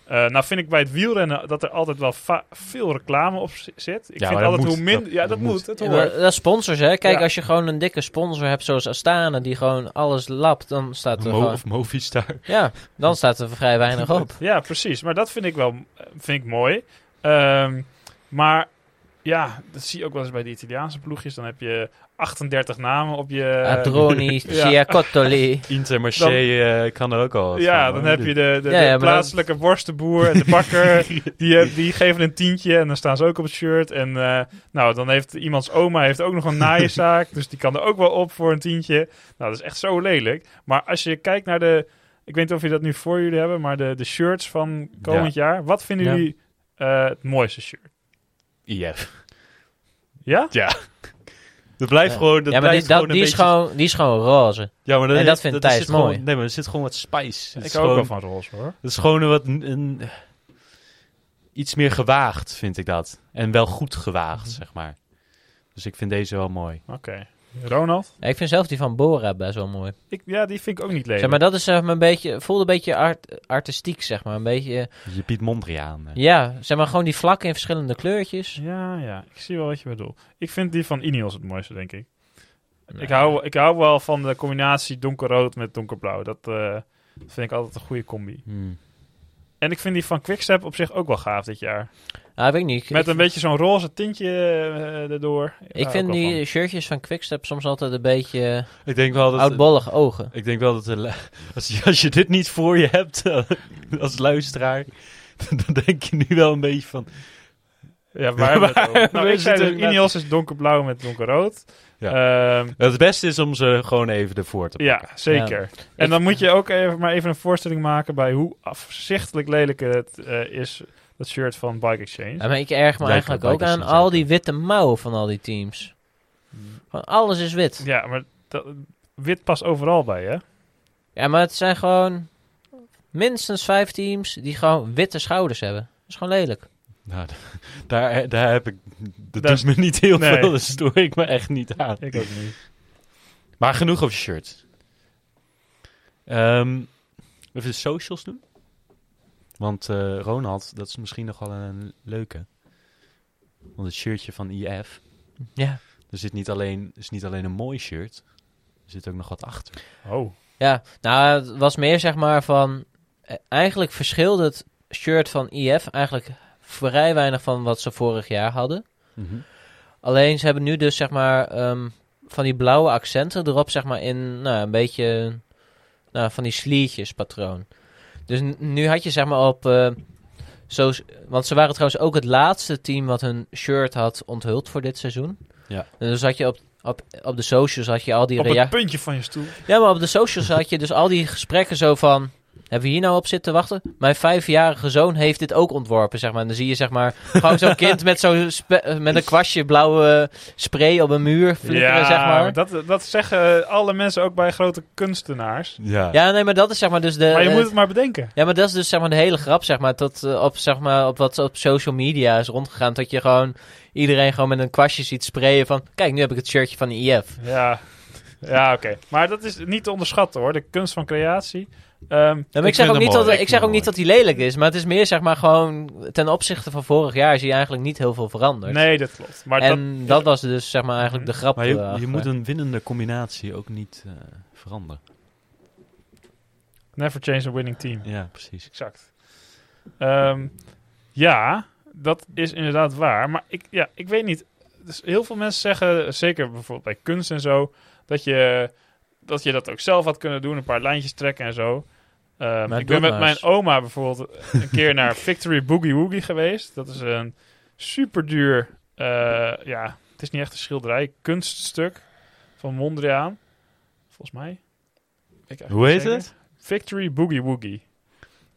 Speaker 1: Eh, nou vind ik bij het wielrennen dat er altijd wel va- veel reclame op zi- zit. Ik
Speaker 2: maar
Speaker 1: vind
Speaker 2: dat
Speaker 1: altijd
Speaker 2: moet.
Speaker 1: hoe minder...
Speaker 2: Dat-
Speaker 1: Ja, dat,
Speaker 2: dat
Speaker 1: moet.
Speaker 2: moet.
Speaker 1: Het
Speaker 3: Ja,
Speaker 1: hoort.
Speaker 3: maar dat is sponsors, hè. Kijk,
Speaker 1: Ja.
Speaker 3: als je gewoon een dikke sponsor hebt zoals Astana, die gewoon alles lapt, dan staat er
Speaker 2: Mo
Speaker 3: gewoon...
Speaker 2: of Movistar.
Speaker 3: Ja, dan staat er vrij weinig op.
Speaker 1: Ja, precies. Maar dat vind ik wel eh, vind ik mooi. Ehm, maar ja, dat zie je ook wel eens bij de Italiaanse ploegjes. Dan heb je 38 namen op je...
Speaker 3: Adroni,
Speaker 1: Eh, ja.
Speaker 3: Ciacottoli.
Speaker 2: Intermarché eh, kan er ook al. wat
Speaker 1: Ja,
Speaker 2: van,
Speaker 1: dan
Speaker 2: hoor.
Speaker 1: heb je de, de,
Speaker 3: Ja,
Speaker 1: de
Speaker 3: ja, maar
Speaker 1: plaatselijke worstenboer en de
Speaker 2: [LAUGHS]
Speaker 1: bakker. die, eh, die geven een tientje en dan staan ze ook op het shirt. En eh, nou, dan heeft iemands oma heeft ook nog een
Speaker 2: [LAUGHS]
Speaker 1: naaienzaak. dus die kan er ook wel op voor een tientje. Nou, dat is echt zo lelijk. Maar als je kijkt naar de... Ik weet niet of jullie dat nu voor jullie hebben, maar de, de shirts van komend jaar. Wat vinden
Speaker 2: Ja.
Speaker 1: jullie eh, het mooiste shirt?
Speaker 2: IF.
Speaker 1: Ja?
Speaker 2: Dat blijft
Speaker 3: Ja.
Speaker 2: gewoon. Dat
Speaker 3: ja, maar die,
Speaker 2: blijft
Speaker 3: dat,
Speaker 2: gewoon een
Speaker 3: die, is
Speaker 2: beetje-
Speaker 3: gewoon, die is gewoon roze.
Speaker 2: Ja, maar
Speaker 3: en
Speaker 2: is-
Speaker 3: dat vindt
Speaker 2: is-
Speaker 3: Thijs
Speaker 2: zit gewoon-
Speaker 3: mooi.
Speaker 2: nee, maar er zit gewoon wat spice. Het
Speaker 1: Ik
Speaker 2: is
Speaker 1: hou ook wel
Speaker 2: gewoon,
Speaker 1: van roze hoor.
Speaker 2: het is gewoon een wat. Een, iets meer gewaagd, vind ik dat. En wel goed gewaagd,
Speaker 3: Mhm.
Speaker 2: zeg maar. Dus ik vind deze wel mooi.
Speaker 1: Oké. Ronald?
Speaker 3: Ja, ik vind zelf die van Bora best wel mooi.
Speaker 1: Ik, ja, die vind ik ook niet lelijk.
Speaker 3: Zeg maar, dat is zeg maar, een beetje, voelde een beetje art, artistiek, zeg maar. Een beetje, eh,
Speaker 2: Je biedt Mondriaan. eh.
Speaker 3: ja, zeg maar, gewoon die vlakken in verschillende kleurtjes.
Speaker 1: Ja, ja. Ik zie wel wat je bedoelt. Ik vind die van Ineos het mooiste, denk ik.
Speaker 3: Nee.
Speaker 1: Ik, hou, ik hou wel van de combinatie donkerrood met donkerblauw. Dat eh, vind ik altijd een goede combi.
Speaker 2: Hmm.
Speaker 1: En ik vind die van Quickstep op zich ook wel gaaf dit jaar.
Speaker 3: Ah, weet ik niet. Ik-
Speaker 1: Met
Speaker 3: ik,
Speaker 1: een beetje zo'n roze tintje eh, erdoor. Daar
Speaker 3: ik
Speaker 1: hou
Speaker 3: vind
Speaker 1: wel
Speaker 3: die
Speaker 1: van.
Speaker 3: shirtjes van Quickstep soms altijd een beetje
Speaker 2: Ik denk wel
Speaker 3: eh,
Speaker 2: dat.
Speaker 3: oudbollige ogen.
Speaker 2: Ik denk wel dat de lu- [LAUGHS] als, je, als je dit niet voor je hebt [LAUGHS] als luisteraar, [LAUGHS] dan denk je nu wel een beetje van. [LAUGHS]
Speaker 1: Ja, waar hebben we het over? Nou,
Speaker 2: we
Speaker 1: ik zei dus,
Speaker 2: zitten-
Speaker 1: Ineos is donkerblauw met donkerrood.
Speaker 2: Ja.
Speaker 1: Ehm,
Speaker 2: Het beste is om ze gewoon even ervoor te pakken.
Speaker 1: ja zeker. En dan moet je ook even, maar even een voorstelling maken bij hoe afzichtelijk lelijk het eh, is, dat shirt van Bike Exchange.
Speaker 3: Ja, maar ik erg me
Speaker 2: Lijkt
Speaker 3: eigenlijk
Speaker 2: wel
Speaker 3: ook aan
Speaker 2: bikers
Speaker 3: al die witte mouwen van al die teams. Gewoon alles is wit.
Speaker 1: Ja, maar dat, wit past overal bij, hè?
Speaker 3: Ja, maar het zijn gewoon minstens vijf teams die gewoon witte schouders hebben. Dat is gewoon lelijk.
Speaker 2: Nou, [LAUGHS] d- daar, daar heb ik. Dat
Speaker 1: Daar-
Speaker 2: doet me niet heel
Speaker 1: Nee.
Speaker 2: veel, daar stoor ik me echt niet aan.
Speaker 1: Ik ook niet.
Speaker 2: Maar genoeg over shirts. Ehm, even de socials doen. Want eh, Ronald, dat is misschien nog wel een leuke. Want het shirtje van IF,
Speaker 3: Ja.
Speaker 2: er zit niet alleen, is niet alleen een mooi shirt, er zit ook nog wat achter.
Speaker 1: Oh.
Speaker 3: Ja, nou, het was meer zeg maar van... eh, Eigenlijk verschilde het shirt van IF eigenlijk vrij weinig van wat ze vorig jaar hadden. Alleen ze hebben nu dus zeg maar ehm, van die blauwe accenten erop zeg maar in nou, een beetje nou, van die sliertjes patroon. Dus n- nu had je zeg maar op... eh, zo, want ze waren trouwens ook het laatste team wat hun shirt had onthuld voor dit seizoen.
Speaker 2: Ja.
Speaker 3: En dus had je op, op, op de socials had je al die
Speaker 1: Op het
Speaker 3: reacties.
Speaker 1: puntje van je stoel.
Speaker 3: Ja, maar op de socials had je dus al die gesprekken zo van... Hebben we hier nou op zitten wachten? Mijn vijfjarige zoon heeft dit ook ontworpen, zeg maar. En dan zie je, zeg maar, gewoon zo'n kind met, zo'n spe- eh, met een kwastje blauwe spray op een muur flikkeren, zeg maar.
Speaker 1: dat, dat zeggen alle mensen ook bij grote kunstenaars.
Speaker 2: Ja.
Speaker 3: Ja, nee, maar dat is, zeg maar, dus de...
Speaker 1: maar je
Speaker 3: eh,
Speaker 1: moet het maar bedenken.
Speaker 3: Ja, maar dat is dus, zeg maar, de hele grap, zeg maar, tot, eh, op, zeg maar, op wat op social media is rondgegaan. Dat je gewoon iedereen gewoon met een kwastje ziet sprayen van... Kijk, nu heb ik het shirtje van de IF.
Speaker 1: Ja, ja oké. Maar dat is niet te onderschatten, hoor. De kunst van creatie. Ehm,
Speaker 3: Ja, maar
Speaker 2: Ik
Speaker 3: ik, zeg
Speaker 2: vind
Speaker 3: ook
Speaker 2: hem
Speaker 3: niet
Speaker 2: mooi,
Speaker 3: dat,
Speaker 2: ik
Speaker 3: ik zeg
Speaker 2: vind
Speaker 3: ook
Speaker 2: hem
Speaker 3: niet dat hij lelijk is, maar het is meer zeg maar gewoon ten opzichte van vorig jaar zie je eigenlijk niet heel veel veranderd.
Speaker 1: nee, dat klopt. Maar dat,
Speaker 3: en dat, was dus zeg maar eigenlijk de grap. eh,
Speaker 2: Maar je, je
Speaker 3: erachter.
Speaker 2: moet een winnende combinatie ook niet eh, veranderen.
Speaker 1: never change a winning team.
Speaker 2: Ja, precies.
Speaker 1: Exact. Ehm, ja, dat is inderdaad waar. Maar ik, ja, ik weet niet. Dus heel veel mensen zeggen, zeker bijvoorbeeld bij kunst en zo, dat je dat, je dat ook zelf had kunnen doen. Een paar lijntjes trekken en zo. Ehm, ik ben
Speaker 3: doe het
Speaker 1: met
Speaker 3: maar
Speaker 1: mijn
Speaker 3: eens.
Speaker 1: oma bijvoorbeeld een keer
Speaker 2: [LAUGHS]
Speaker 1: naar Victory Boogie Woogie geweest. Dat is een superduur, eh ja, het is niet echt een schilderij, kunststuk van Mondriaan. Volgens mij. Ik eigenlijk
Speaker 2: Hoe
Speaker 1: niet
Speaker 2: heet
Speaker 1: zeker.
Speaker 2: het?
Speaker 1: Victory Boogie Woogie.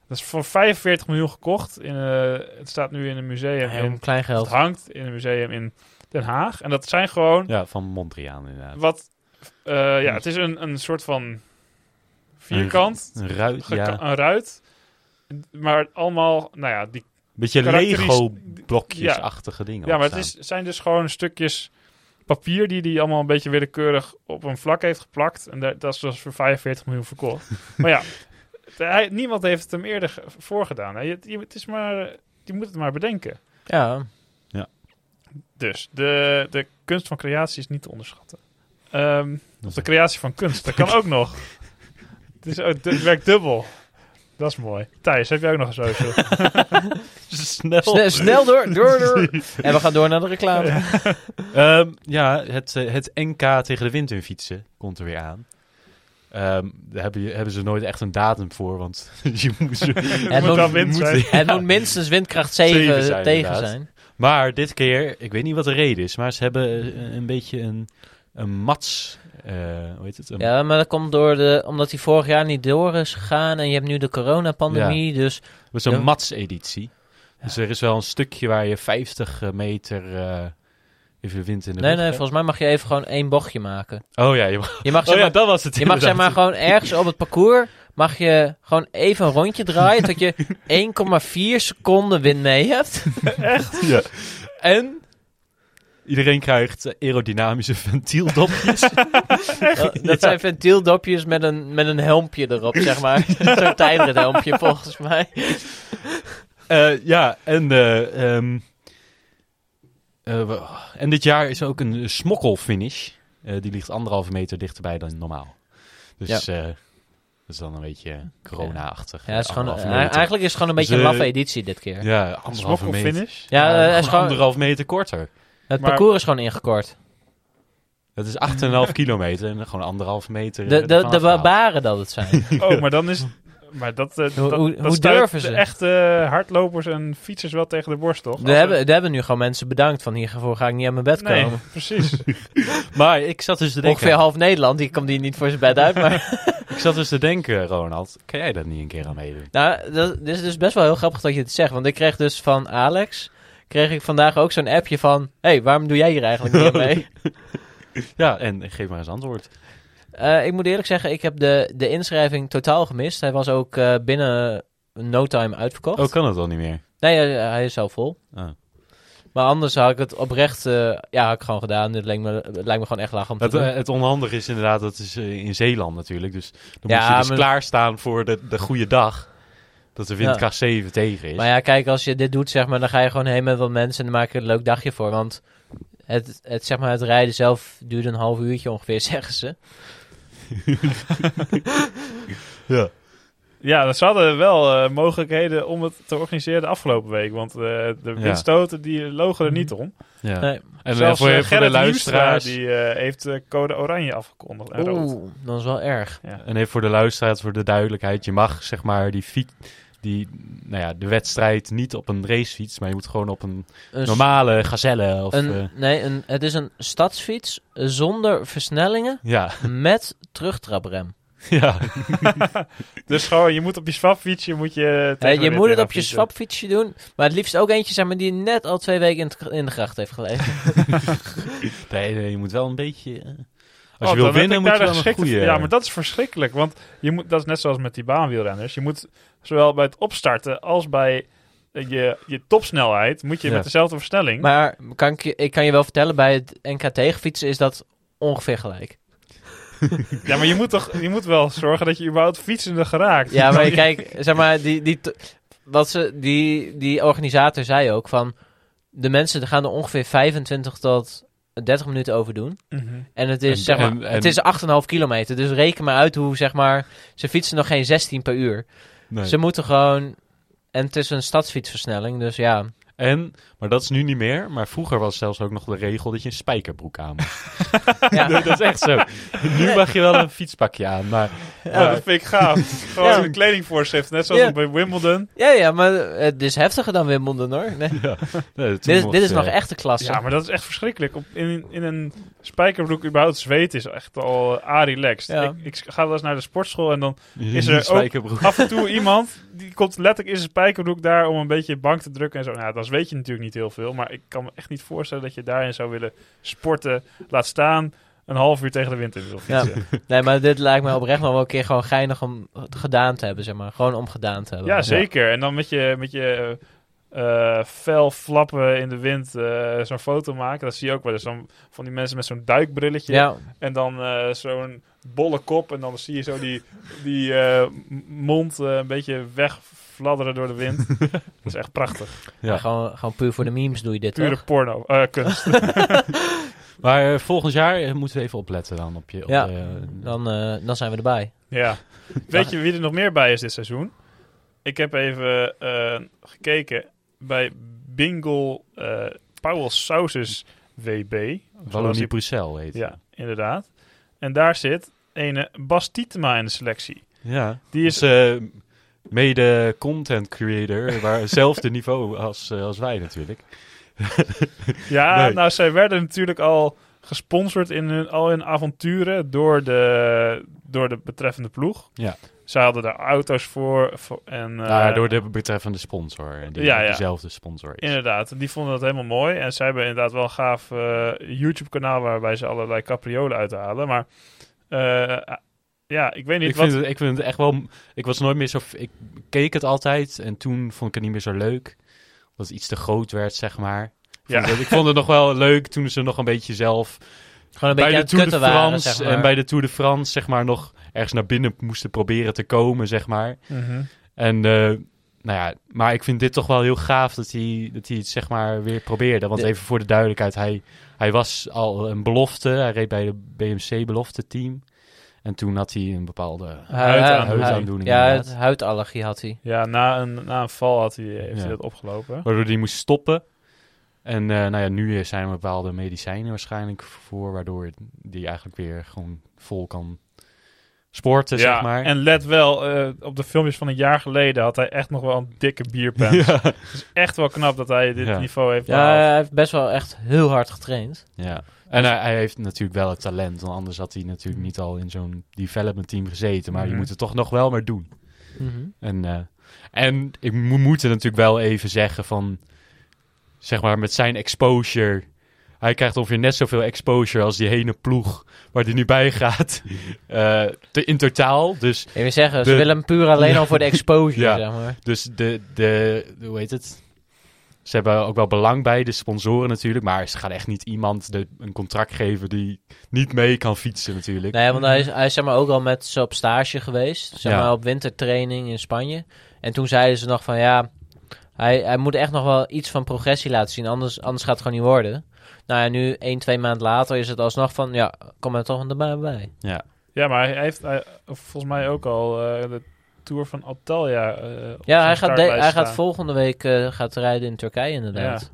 Speaker 1: Dat is voor 45 miljoen gekocht. In, eh, het staat nu in een museum.
Speaker 3: Heel
Speaker 1: In,
Speaker 3: klein
Speaker 1: het
Speaker 3: geld.
Speaker 1: hangt in een museum in Den Haag. En dat zijn gewoon
Speaker 2: Ja, van Mondriaan inderdaad.
Speaker 1: wat. eh, ja, het is een, een soort van vierkant,
Speaker 2: Een ruit,
Speaker 1: geka-
Speaker 2: ja.
Speaker 1: een ruit. Maar allemaal, nou ja, die,
Speaker 2: Beetje
Speaker 1: karakteris-
Speaker 2: Lego-blokjesachtige dingen.
Speaker 1: ja, maar het
Speaker 2: opstaan.
Speaker 1: is, zijn dus gewoon stukjes papier die hij allemaal een beetje willekeurig op een vlak heeft geplakt. En daar, dat is dus voor 45 miljoen
Speaker 2: [LAUGHS]
Speaker 1: verkocht. maar ja, de- hij, niemand heeft het hem eerder ge- voorgedaan. hè. Je, je- het is maar, je moet het maar bedenken.
Speaker 3: Ja,
Speaker 1: Dus de, de kunst van creatie is niet te onderschatten. Ehm,
Speaker 2: Dat
Speaker 1: of de creatie van kunst, dat kan ook
Speaker 2: [LAUGHS]
Speaker 1: nog. Het, is, ook- het werkt dubbel. Dat is mooi. Thijs, heb jij ook nog een
Speaker 2: [LAUGHS]
Speaker 1: social? dus
Speaker 2: is snel.
Speaker 3: Sne- snel door,
Speaker 2: [LAUGHS]
Speaker 3: door, door. en we gaan door naar de reclame.
Speaker 2: Ehm, ja, het, eh, het NK tegen de wind in fietsen komt er weer aan. Ehm, daar hebben, je- hebben ze nooit echt een datum voor, want [LAUGHS] je
Speaker 1: [LAUGHS]
Speaker 2: moet ze...
Speaker 3: Het
Speaker 1: moet
Speaker 3: moet-
Speaker 1: wel wind
Speaker 2: moet-
Speaker 1: zijn.
Speaker 3: Het moet minstens windkracht 7,
Speaker 2: Zeven zijn,
Speaker 3: tegen
Speaker 2: inderdaad.
Speaker 3: zijn.
Speaker 2: Maar dit keer, ik weet niet wat de reden is, maar ze hebben eh, een beetje een, een mats... eh, hoe heet het? Een,
Speaker 3: Ja, maar dat komt door de, omdat hij vorig jaar niet door is gegaan en je hebt nu de coronapandemie, dus
Speaker 2: Het is een
Speaker 3: Ja.
Speaker 2: mats-editie. Dus er is wel een stukje waar je 50 meter eh, even wind in de
Speaker 3: nee,
Speaker 2: rug
Speaker 3: nee,
Speaker 2: hebt.
Speaker 3: volgens mij mag je even gewoon één bochtje maken.
Speaker 2: Oh ja, je mag,
Speaker 3: Je mag, zeg
Speaker 2: oh, ja
Speaker 3: maar,
Speaker 2: dat was het
Speaker 3: je mag zeg maar gewoon ergens op het parcours, mag je gewoon even een rondje draaien tot je 1,4 seconden wind mee hebt.
Speaker 2: Ja. En iedereen krijgt eh, aerodynamische [LAUGHS] ventieldopjes.
Speaker 3: eh, Dat dat zijn ventieldopjes met een, met een helmpje erop,
Speaker 2: [LAUGHS]
Speaker 3: zeg maar. Zo'n tijdrithelmpje volgens mij.
Speaker 2: Eh, ja, en, eh, ehm, eh, we- en dit jaar is er ook een smokkelfinish. Eh, die ligt anderhalve meter dichterbij dan normaal. Dus eh, dat is dan een beetje corona-achtig.
Speaker 3: Ja, het is gewoon,
Speaker 2: Anderhalve
Speaker 3: eh,
Speaker 2: meter.
Speaker 3: eigenlijk is het gewoon een beetje
Speaker 2: Dus,
Speaker 3: een
Speaker 2: eh,
Speaker 3: laffe editie dit keer. Ja,
Speaker 2: Ja, anderhalve
Speaker 1: Smokkel
Speaker 2: meter.
Speaker 1: finish.
Speaker 2: Ja,
Speaker 3: eh, het, is
Speaker 2: gewoon
Speaker 3: gewoon,
Speaker 2: anderhalf meter korter.
Speaker 3: het
Speaker 1: maar-
Speaker 3: parcours is gewoon ingekort.
Speaker 2: Dat is 8,5 kilometer en gewoon anderhalf meter. eh,
Speaker 3: De, de,
Speaker 2: ervan
Speaker 3: de
Speaker 2: afgehaald.
Speaker 3: barbaren dat het
Speaker 2: [LAUGHS]
Speaker 3: zijn.
Speaker 1: Oh, maar dan is. Maar dat, eh, dat,
Speaker 3: hoe-
Speaker 1: dat
Speaker 3: hoe
Speaker 1: stuit
Speaker 3: durven ze?
Speaker 1: De echte hardlopers en fietsers wel tegen de borst, toch?
Speaker 3: We
Speaker 1: Als
Speaker 3: hebben, we hebben nu gewoon mensen bedankt van hiervoor ga ik niet aan mijn bed
Speaker 1: ze- Nee,
Speaker 3: komen.
Speaker 1: precies. [LAUGHS]
Speaker 2: Maar ik zat dus te denken,
Speaker 3: Ongeveer half Nederland, die komt hier niet voor zijn bed uit. Maar,
Speaker 2: ik zat dus te denken Ronald, kan jij dat niet een keer aan meedoen?
Speaker 3: nou, dat, dit is dus best wel heel grappig dat je het zegt. Want ik kreeg dus van Alex, kreeg ik vandaag ook zo'n appje van... Hé, hey, waarom doe jij hier eigenlijk niet aan
Speaker 2: [LAUGHS]
Speaker 3: mee?
Speaker 2: Ja, en geef maar eens antwoord.
Speaker 3: Eh, ik moet eerlijk zeggen, ik heb de, de inschrijving totaal gemist. Hij was ook eh, binnen no time uitverkocht.
Speaker 2: Oh, kan dat al niet meer?
Speaker 3: Nee, hij, hij is al vol.
Speaker 2: Ah.
Speaker 3: Maar anders had ik het oprecht eh, ja, had ik gewoon gedaan. Dit lijkt me, het lijkt me gewoon echt lachen om te
Speaker 2: Het,
Speaker 3: doen.
Speaker 2: eh, het onhandige is inderdaad, dat is eh, in Zeeland natuurlijk. Dus dan
Speaker 3: Ja,
Speaker 2: moet je dus
Speaker 3: maar-
Speaker 2: klaarstaan voor de, de goede dag. Dat de windkracht 7 tegen is.
Speaker 3: Maar ja, kijk, als je dit doet, zeg maar, dan ga je gewoon heen met wat mensen en dan maak je er een leuk dagje voor. Want het, het, zeg maar, het rijden zelf duurt een half uurtje ongeveer, [LAUGHS] zeggen ze.
Speaker 2: Ja.
Speaker 1: Ja, ze hadden wel eh, mogelijkheden om het te organiseren de afgelopen week. Want eh, de
Speaker 2: Ja.
Speaker 1: windstoten die logen er niet om.
Speaker 2: Ja.
Speaker 3: Nee.
Speaker 2: En
Speaker 1: Zelfs
Speaker 2: voor,
Speaker 1: eh,
Speaker 2: je voor de
Speaker 1: Gerrit Hiemstra,
Speaker 2: luisteraars...
Speaker 1: die eh, heeft eh, code oranje afgekondigd. En rood.
Speaker 3: Oeh, dat is wel erg.
Speaker 2: En even voor de luisteraars, voor de duidelijkheid. Je mag zeg maar die fiets... Die, nou ja, de wedstrijd niet op een racefiets, maar je moet gewoon op een
Speaker 3: Een,
Speaker 1: Dus-
Speaker 3: s-
Speaker 2: normale gazelle of...
Speaker 3: een,
Speaker 2: eh,
Speaker 3: nee, een, het is een stadsfiets zonder versnellingen
Speaker 2: ja, [LAUGHS]
Speaker 3: met terugtraprem.
Speaker 2: ja.
Speaker 1: Dus gewoon, je moet op je swapfietsje moet je tegen
Speaker 3: Eh,
Speaker 1: de
Speaker 3: je
Speaker 1: wind
Speaker 3: moet het
Speaker 1: in
Speaker 3: op je
Speaker 1: gaan fietsen.
Speaker 3: swapfietsje doen, maar het liefst ook eentje zeg maar, die net al twee weken in, het- in de gracht heeft gelegen.
Speaker 2: Nee, nee, je moet wel een beetje... eh, Als
Speaker 1: Oh,
Speaker 2: je wil
Speaker 1: dan heb
Speaker 2: winnen,
Speaker 1: ik
Speaker 2: moet je
Speaker 1: daar
Speaker 2: wel
Speaker 1: de
Speaker 2: een
Speaker 1: geschikte-
Speaker 2: goede...
Speaker 1: Ja, maar dat is verschrikkelijk. Want je moet, dat is net zoals met die baanwielrenners. Je moet zowel bij het opstarten als bij eh, je, je topsnelheid... moet je
Speaker 2: Ja.
Speaker 1: met dezelfde versnelling...
Speaker 3: Maar kan ik, je- ik kan je wel vertellen, bij het NK tegenfietsen is dat ongeveer gelijk.
Speaker 1: Ja, maar je moet toch je moet wel zorgen dat je überhaupt fietsende geraakt. [LAUGHS]
Speaker 3: Ja, maar kijk, zeg maar, die, die, t- wat ze, die, die organisator zei ook van... De mensen er gaan er ongeveer 25 tot 30 minuten over doen.
Speaker 1: Mhm.
Speaker 3: En het is,
Speaker 2: En-
Speaker 3: zeg maar,
Speaker 2: en- en-
Speaker 3: het is 8,5 kilometer. Dus reken maar uit hoe, zeg maar... Ze fietsen nog geen 16 per uur.
Speaker 2: Nee.
Speaker 3: Ze moeten gewoon... En het is een stadsfietsversnelling, dus ja.
Speaker 1: [LAUGHS]
Speaker 2: En, maar dat is nu niet meer, maar vroeger was zelfs ook nog de regel dat je een spijkerbroek aan moest.
Speaker 3: Ja.
Speaker 2: dat is echt zo. Nu mag je wel een fietspakje aan, maar
Speaker 1: Ja, dat vind ik gaaf. Gewoon
Speaker 3: Ja.
Speaker 1: een kledingvoorschrift, net zoals
Speaker 3: Ja.
Speaker 1: bij Wimbledon.
Speaker 3: Ja, ja, maar het is heftiger dan Wimbledon, hoor.
Speaker 2: nee,
Speaker 3: Nee.
Speaker 2: toen
Speaker 3: Dit, is-
Speaker 2: mocht,
Speaker 3: dit is
Speaker 2: eh,
Speaker 3: nog echte klasse.
Speaker 1: Ja, maar dat is echt verschrikkelijk. Op, in, in een spijkerbroek überhaupt zweten is echt al uh, relaxed.
Speaker 3: Ja.
Speaker 1: Ik, ik ga wel eens naar de sportschool en dan
Speaker 2: Is
Speaker 1: er
Speaker 2: er
Speaker 1: ook-
Speaker 2: spijkerbroek?
Speaker 1: af en toe iemand... die komt letterlijk in zijn spijkerbroek daar om een beetje bank te drukken en zo. Nou, dan weet je natuurlijk niet heel veel. Maar ik kan me echt niet voorstellen dat je daarin zou willen sporten. Laat staan een half uur tegen de wind in wil
Speaker 3: Ja.
Speaker 1: fietsen.
Speaker 3: Nee, maar dit lijkt me oprecht nog wel een keer gewoon geinig om gedaan te hebben, zeg maar. Gewoon om gedaan te hebben.
Speaker 1: Ja, zeker. En dan met je, met je eh, eh, fel flappen in de wind eh, zo'n foto maken. Dat zie je ook wel eens. Dan van die mensen met zo'n duikbrilletje.
Speaker 3: Ja,
Speaker 1: En dan eh, zo'n bolle kop. En dan zie je zo die, die eh, m- mond eh, een beetje wegfladderen door de wind.
Speaker 3: [LAUGHS]
Speaker 1: dat is echt prachtig.
Speaker 2: Ja.
Speaker 3: Gewoon, gewoon puur voor de memes doe je dit,
Speaker 1: Pure
Speaker 3: toch?
Speaker 1: porno. eh,
Speaker 2: [LAUGHS]
Speaker 1: kunst.
Speaker 2: Maar eh, volgend jaar eh, moeten we even opletten dan op je... Op
Speaker 3: Ja.
Speaker 2: de-
Speaker 3: Dan, eh, dan zijn we erbij.
Speaker 1: ja. Weet je wie er nog meer bij is dit seizoen? Ik heb even eh, gekeken bij Bingle eh Powell Sauces WB. Zoals die-
Speaker 2: Wallonie-Bruxelles heet.
Speaker 1: Ja, inderdaad. En daar zit een Bas Tietema in de selectie.
Speaker 2: Ja.
Speaker 1: Die is,
Speaker 2: eh, mede content creator,
Speaker 1: [LAUGHS]
Speaker 2: waar hetzelfde niveau als, eh, als wij natuurlijk.
Speaker 1: ja,
Speaker 2: nee.
Speaker 1: nou, zij werden natuurlijk al gesponsord in hun, al hun avonturen door de, door de betreffende ploeg.
Speaker 2: Ja.
Speaker 1: Zij hadden daar auto's voor. voor- en, eh,
Speaker 2: Nou ja, door de betreffende sponsor. en Die
Speaker 1: Ja, ja.
Speaker 2: dezelfde sponsor is.
Speaker 1: Inderdaad, die vonden dat helemaal mooi. En zij hebben inderdaad wel een gaaf eh, YouTube-kanaal waarbij ze allerlei capriolen uithalen. Maar eh, ja, ik weet niet
Speaker 2: Ik
Speaker 1: wat...
Speaker 2: vind, het, ik vind het echt wel. Ik was nooit meer zo. Ik keek het altijd en toen vond ik het niet meer zo leuk. Omdat het iets te groot werd, zeg maar.
Speaker 1: Ja.
Speaker 2: Ja. Ik vond het nog wel leuk toen ze nog een beetje zelf.
Speaker 3: Gewoon een
Speaker 2: bij
Speaker 3: beetje
Speaker 2: de
Speaker 3: aan het
Speaker 2: Tour de
Speaker 3: kutten waren,
Speaker 2: France
Speaker 3: zeg maar.
Speaker 2: en bij de Tour de France, zeg maar, nog ergens naar binnen moesten proberen te komen, zeg maar.
Speaker 1: Mhm.
Speaker 2: En. eh, nou ja, maar ik vind dit toch wel heel gaaf dat hij, dat hij het zeg maar weer probeerde. Want
Speaker 3: De-
Speaker 2: even voor de duidelijkheid, hij, hij was al een belofte. Hij reed bij de BMC-belofte-team. En toen had hij een bepaalde
Speaker 3: Huid-
Speaker 1: Huid-
Speaker 3: huid-
Speaker 2: huidaandoening
Speaker 3: Ja,
Speaker 2: inderdaad.
Speaker 3: het huidallergie had hij.
Speaker 1: Ja, na een, na een val had hij, heeft
Speaker 2: Ja.
Speaker 1: hij dat opgelopen.
Speaker 2: Waardoor die moest stoppen. En eh, nou ja, nu zijn er bepaalde medicijnen waarschijnlijk voor, waardoor die eigenlijk weer gewoon vol kan sporten, zeg maar.
Speaker 1: En let wel, eh, op de filmpjes van een jaar geleden had hij echt nog wel een dikke bierpen.
Speaker 2: [LAUGHS] ja.
Speaker 1: Echt wel knap dat hij dit
Speaker 2: Ja.
Speaker 1: niveau heeft
Speaker 3: Ja,
Speaker 1: behaald.
Speaker 3: hij heeft best wel echt heel hard getraind.
Speaker 2: ja. En hij, hij heeft natuurlijk wel het talent, want anders had hij natuurlijk niet al in zo'n development team gezeten. Maar
Speaker 1: Mhm.
Speaker 2: je moet het toch nog wel maar doen. En, eh, en ik mo- moet het natuurlijk wel even zeggen van... Zeg maar, met zijn exposure... Hij krijgt ongeveer net zoveel exposure als die hele ploeg waar hij nu bij
Speaker 3: [LAUGHS]
Speaker 2: gaat. eh, te- in totaal. Dus,
Speaker 3: Ik wil zeggen, ze
Speaker 2: De-
Speaker 3: willen hem puur alleen al voor de exposure,
Speaker 2: [LAUGHS] Ja.
Speaker 3: zeg maar.
Speaker 2: dus de, de... Hoe heet het? Ze hebben ook wel belang bij, de sponsoren natuurlijk. Maar ze gaan echt niet iemand de, een contract geven die niet mee kan fietsen natuurlijk.
Speaker 3: Nee, want hij is, hij is zeg maar, ook al met ze op stage geweest. Zeg
Speaker 2: Ja.
Speaker 3: maar op wintertraining in Spanje. En toen zeiden ze nog van ja, hij, hij moet echt nog wel iets van progressie laten zien. Anders, anders gaat het gewoon niet worden. Nou ja, nu 1, 2 maand later is het alsnog van ja, kom er toch erbij bij.
Speaker 2: Ja.
Speaker 1: Ja, maar hij heeft hij- volgens mij ook al eh, de Tour van Antalya eh, op
Speaker 3: Ja,
Speaker 1: zijn
Speaker 3: hij gaat, de-
Speaker 1: startlijst
Speaker 3: hij gaat
Speaker 1: staan.
Speaker 3: volgende week eh, gaat rijden in Turkije inderdaad.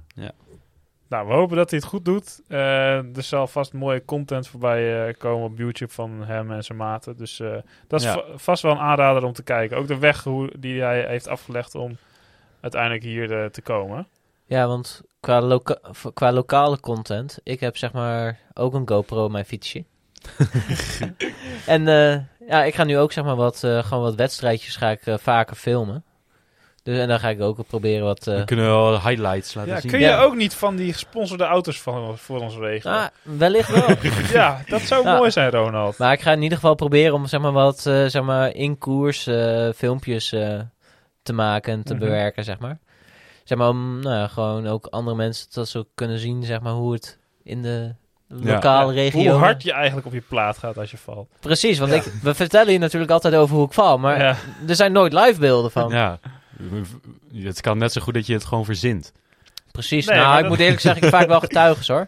Speaker 1: Nou, we hopen dat hij het goed doet. Eh, er zal vast mooie content voorbij eh, komen op YouTube van hem en zijn maten. Dus eh, dat is
Speaker 2: Ja.
Speaker 1: va- vast wel een aanrader om te kijken. Ook de weg hoe, die hij heeft afgelegd om uiteindelijk hier eh, te komen.
Speaker 3: Ja, want qua, loka- voor- qua lokale content, ik heb zeg maar ook een GoPro op mijn [LAUGHS] fietsje. en eh, ja, ik ga nu ook zeg maar wat, eh, gewoon wat wedstrijdjes ga ik eh, vaker filmen. Dus, en dan ga ik ook proberen wat... eh,
Speaker 2: We kunnen wel highlights laten
Speaker 1: Ja,
Speaker 2: zien.
Speaker 1: kun je ook niet van die gesponsorde auto's van, voor ons regelen?
Speaker 3: ah, wellicht wel. [LAUGHS]
Speaker 1: Ja, dat zou
Speaker 3: Ja.
Speaker 1: mooi zijn, Ronald.
Speaker 3: maar ik ga in ieder geval proberen om zeg maar wat eh, zeg maar in koers eh, filmpjes eh, te maken en te
Speaker 1: Mhm.
Speaker 3: bewerken, zeg maar. Zeg maar om nou, ja, gewoon ook andere mensen dat ze ook kunnen zien zeg maar hoe het in de lokale regio.
Speaker 1: Hoe hard je eigenlijk op je plaat gaat als je valt.
Speaker 3: Precies, want ik, we vertellen je natuurlijk altijd over hoe ik val, maar
Speaker 1: Ja.
Speaker 3: er zijn nooit live beelden van.
Speaker 2: Ja. Het kan net zo goed dat je het gewoon verzint.
Speaker 3: Precies.
Speaker 1: Nee,
Speaker 3: nou,
Speaker 1: maar
Speaker 3: ik
Speaker 1: dat-
Speaker 3: moet eerlijk zeggen, ik heb vaak wel getuigen hoor.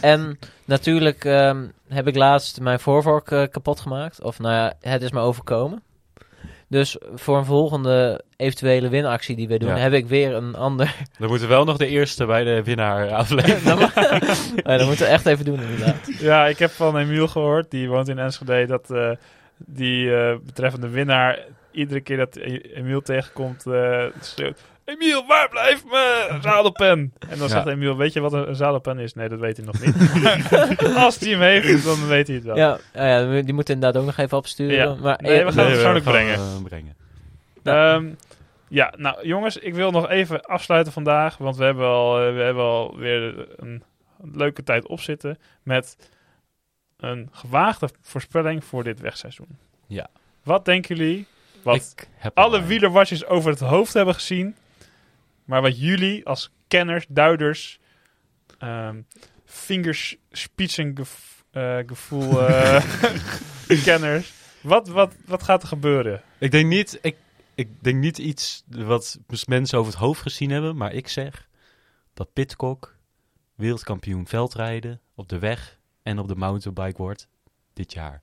Speaker 3: En natuurlijk ehm, heb ik laatst mijn voorvork eh, kapot gemaakt. Of nou ja, het is me overkomen. Dus voor een volgende eventuele winactie die we doen,
Speaker 2: Ja.
Speaker 3: heb ik weer een ander. [LAUGHS]
Speaker 2: Dan moeten we wel nog de eerste bij de winnaar [LAUGHS] afleveren.
Speaker 3: dan, moet- Ja, dat moeten we echt even doen inderdaad.
Speaker 1: Ja, ik heb van Emiel gehoord, die woont in Enschede, dat eh, die eh, betreffende winnaar iedere keer dat E- Emiel tegenkomt eh, schreeuwt... Emiel, waar blijft mijn zadelpen? En dan
Speaker 2: Ja.
Speaker 1: zegt Emiel, weet je wat een, een zadelpen is? Nee, dat weet hij nog niet. Maar Als hij hem heeft, dan weet hij het wel.
Speaker 3: Ja, nou ja, we- die moeten inderdaad ook nog even opsturen.
Speaker 1: Ja.
Speaker 3: Maar eh,
Speaker 1: Nee, we gaan- het persoonlijk
Speaker 2: gaan,
Speaker 1: brengen.
Speaker 2: eh, brengen.
Speaker 1: Ja. Ehm, ja, nou jongens, ik wil nog even afsluiten vandaag. Want we hebben al, eh, we hebben al weer een leuke tijd opzitten. Met een gewaagde voorspelling voor dit wegseizoen.
Speaker 2: Ja.
Speaker 1: Wat denken jullie? Wat
Speaker 2: Ik heb
Speaker 1: alle
Speaker 2: al-
Speaker 1: wielerwatjes over het hoofd hebben gezien. Maar wat jullie als kenners, duiders, ehm vingers, gevoel, eh, [LAUGHS] kenners. Wat, wat, wat gaat er gebeuren?
Speaker 2: Ik denk niet, ik, ik denk niet iets wat mis- mensen over het hoofd gezien hebben, maar ik zeg dat Pitcock wereldkampioen veldrijden op de weg en op de mountainbike wordt dit jaar.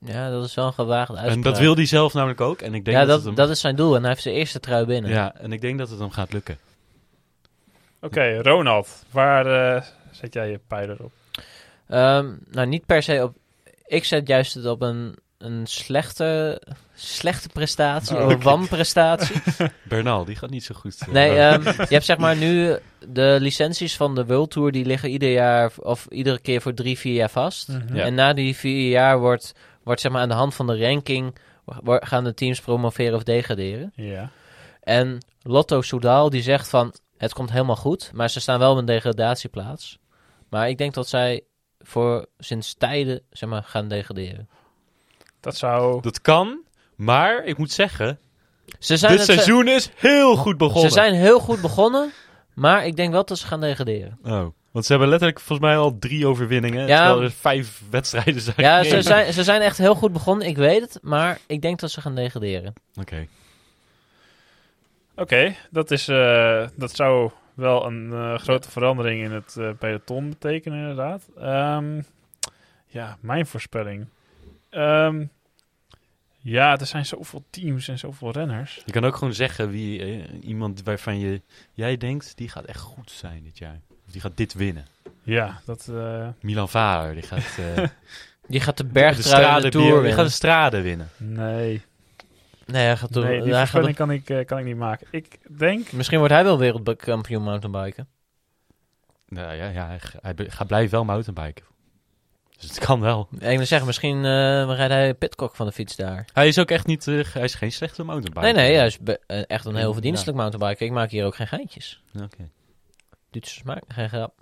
Speaker 3: Ja, dat is wel een gewaagde uitspraak.
Speaker 2: En dat wil hij zelf namelijk ook. En ik denk
Speaker 3: Ja,
Speaker 2: dat,
Speaker 3: dat,
Speaker 2: het hem,
Speaker 3: dat is zijn doel en hij heeft zijn eerste trui binnen.
Speaker 2: ja, en ik denk dat het hem gaat lukken.
Speaker 1: Oké, Ronald, waar eh, zet jij je pijler op?
Speaker 3: Ehm, nou, niet per se op. Ik zet juist het op een, een slechte, slechte prestatie,
Speaker 1: Oh,
Speaker 3: of een wanprestatie.
Speaker 2: Bernal, die gaat niet zo goed. eh,
Speaker 3: Nee,
Speaker 2: eh,
Speaker 3: ehm, je hebt zeg maar nu de licenties van de World Tour, die liggen ieder jaar of iedere keer voor drie, vier jaar vast.
Speaker 1: Mm.
Speaker 2: Ja.
Speaker 3: En na die vier jaar wordt, wordt zeg maar aan de hand van de ranking wo- gaan de teams promoveren of degraderen.
Speaker 1: Ja.
Speaker 3: En Lotto Soudal die zegt van het komt helemaal goed, maar ze staan wel op een degradatieplaats. Maar ik denk dat zij voor sinds tijden zeg maar, gaan degraderen.
Speaker 1: Dat zou...
Speaker 2: Dat kan, maar ik moet zeggen,
Speaker 3: Ze zijn,
Speaker 2: dit
Speaker 3: het- ze-
Speaker 2: seizoen is heel goed begonnen.
Speaker 3: ze zijn heel goed begonnen, maar ik denk wel dat ze gaan degraderen.
Speaker 2: Oh, want ze hebben letterlijk volgens mij al drie overwinningen, terwijl er vijf [LAUGHS] wedstrijden zijn.
Speaker 3: Ja, ze
Speaker 2: gereden.
Speaker 3: zijn, ze zijn echt heel goed begonnen, ik weet het, maar ik denk dat ze gaan degraderen.
Speaker 2: Oké.
Speaker 1: Oké, dat, is, eh, dat zou wel een eh, grote verandering in het eh, peloton betekenen, inderdaad. Ehm, ja, mijn voorspelling. Ehm, ja, er zijn zoveel teams en zoveel renners.
Speaker 2: Je kan ook gewoon zeggen wie eh, iemand waarvan je, jij denkt, die gaat echt goed zijn dit jaar. Of die gaat dit winnen.
Speaker 1: Ja, dat... eh,
Speaker 2: Milan Valer, die gaat eh, [LAUGHS]
Speaker 3: Die gaat de
Speaker 2: de
Speaker 3: bergtrui en de,
Speaker 2: straden
Speaker 3: Tour
Speaker 2: winnen. Die
Speaker 3: winnen.
Speaker 2: gaat de straden winnen.
Speaker 1: nee,
Speaker 3: Nee, hij gaat de,
Speaker 1: nee, die
Speaker 3: hij gaat
Speaker 1: voorspelling kan ik, eh, kan ik niet maken. Ik denk...
Speaker 3: de- Misschien wordt hij wel wereldkampioen mountainbiken.
Speaker 2: Nou ja, ja hij, g- hij be- gaat blijven wel mountainbiken. Dus het kan wel.
Speaker 3: En ik wil zeggen, misschien eh rijdt hij Pitcock van de fiets daar.
Speaker 2: Hij is ook echt niet, eh, hij is geen slechte mountainbiker.
Speaker 3: Nee, nee, hij is be- eh, echt een heel
Speaker 2: Ja.
Speaker 3: verdienstelijk mountainbiker. Ik maak hier ook geen geintjes.
Speaker 2: Oké.
Speaker 3: Duitsers maken geen grap.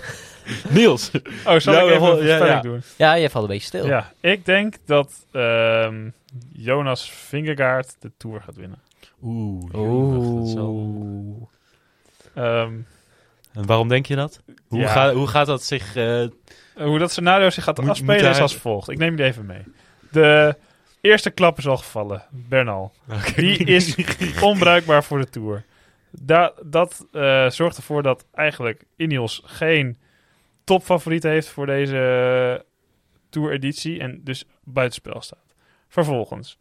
Speaker 2: [LAUGHS] Niels.
Speaker 1: Oh, zal
Speaker 2: Ja,
Speaker 1: ik even
Speaker 2: wel,
Speaker 1: een
Speaker 2: ja,
Speaker 1: voorspelling
Speaker 2: ja.
Speaker 1: doen?
Speaker 3: Ja, je valt een beetje stil.
Speaker 1: Ja, ik denk dat ehm, Jonas Vingegaard de Tour gaat winnen.
Speaker 2: Oeh. jemig, dat is wel-
Speaker 3: Oeh.
Speaker 1: Ehm,
Speaker 2: En waarom denk je dat? Hoe,
Speaker 1: Ja.
Speaker 2: gaat, hoe gaat dat zich... eh,
Speaker 1: Uh, Hoe dat scenario zich gaat
Speaker 2: Moet-
Speaker 1: afspelen
Speaker 2: moet hij-
Speaker 1: is als volgt. Ik neem jullie even mee. De eerste klap is al gevallen. Bernal. Die
Speaker 2: [LAUGHS]
Speaker 1: is onbruikbaar voor de Tour. Da dat eh, zorgt ervoor dat eigenlijk Ineos geen topfavoriet heeft voor deze Tour-editie. En dus buitenspel staat. Vervolgens,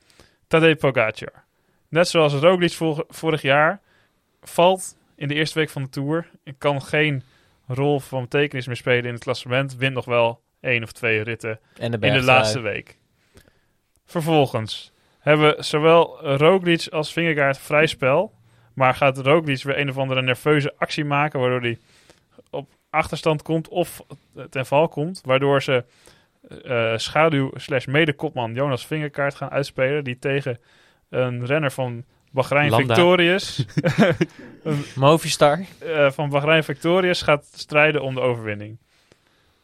Speaker 1: Tadej Pogacar. Net zoals Roglic vor- vorig jaar valt in de eerste week van de Tour. En kan geen rol van betekenis meer spelen in het klassement. Wint nog wel één of twee ritten
Speaker 3: En de
Speaker 1: in
Speaker 3: bergtrui.
Speaker 1: de laatste week. Vervolgens hebben we zowel Roglic als Vingegaard vrij spel. Maar gaat Roglic weer een of andere nerveuze actie maken... waardoor hij op achterstand komt of ten val komt. Waardoor ze eh, schaduw slash medekopman Jonas Vingegaard gaan uitspelen... die tegen een renner van Bahrein
Speaker 2: Landa.
Speaker 1: Victorious...
Speaker 3: Movistar.
Speaker 1: eh, van Bahrein Victorious gaat strijden om de overwinning.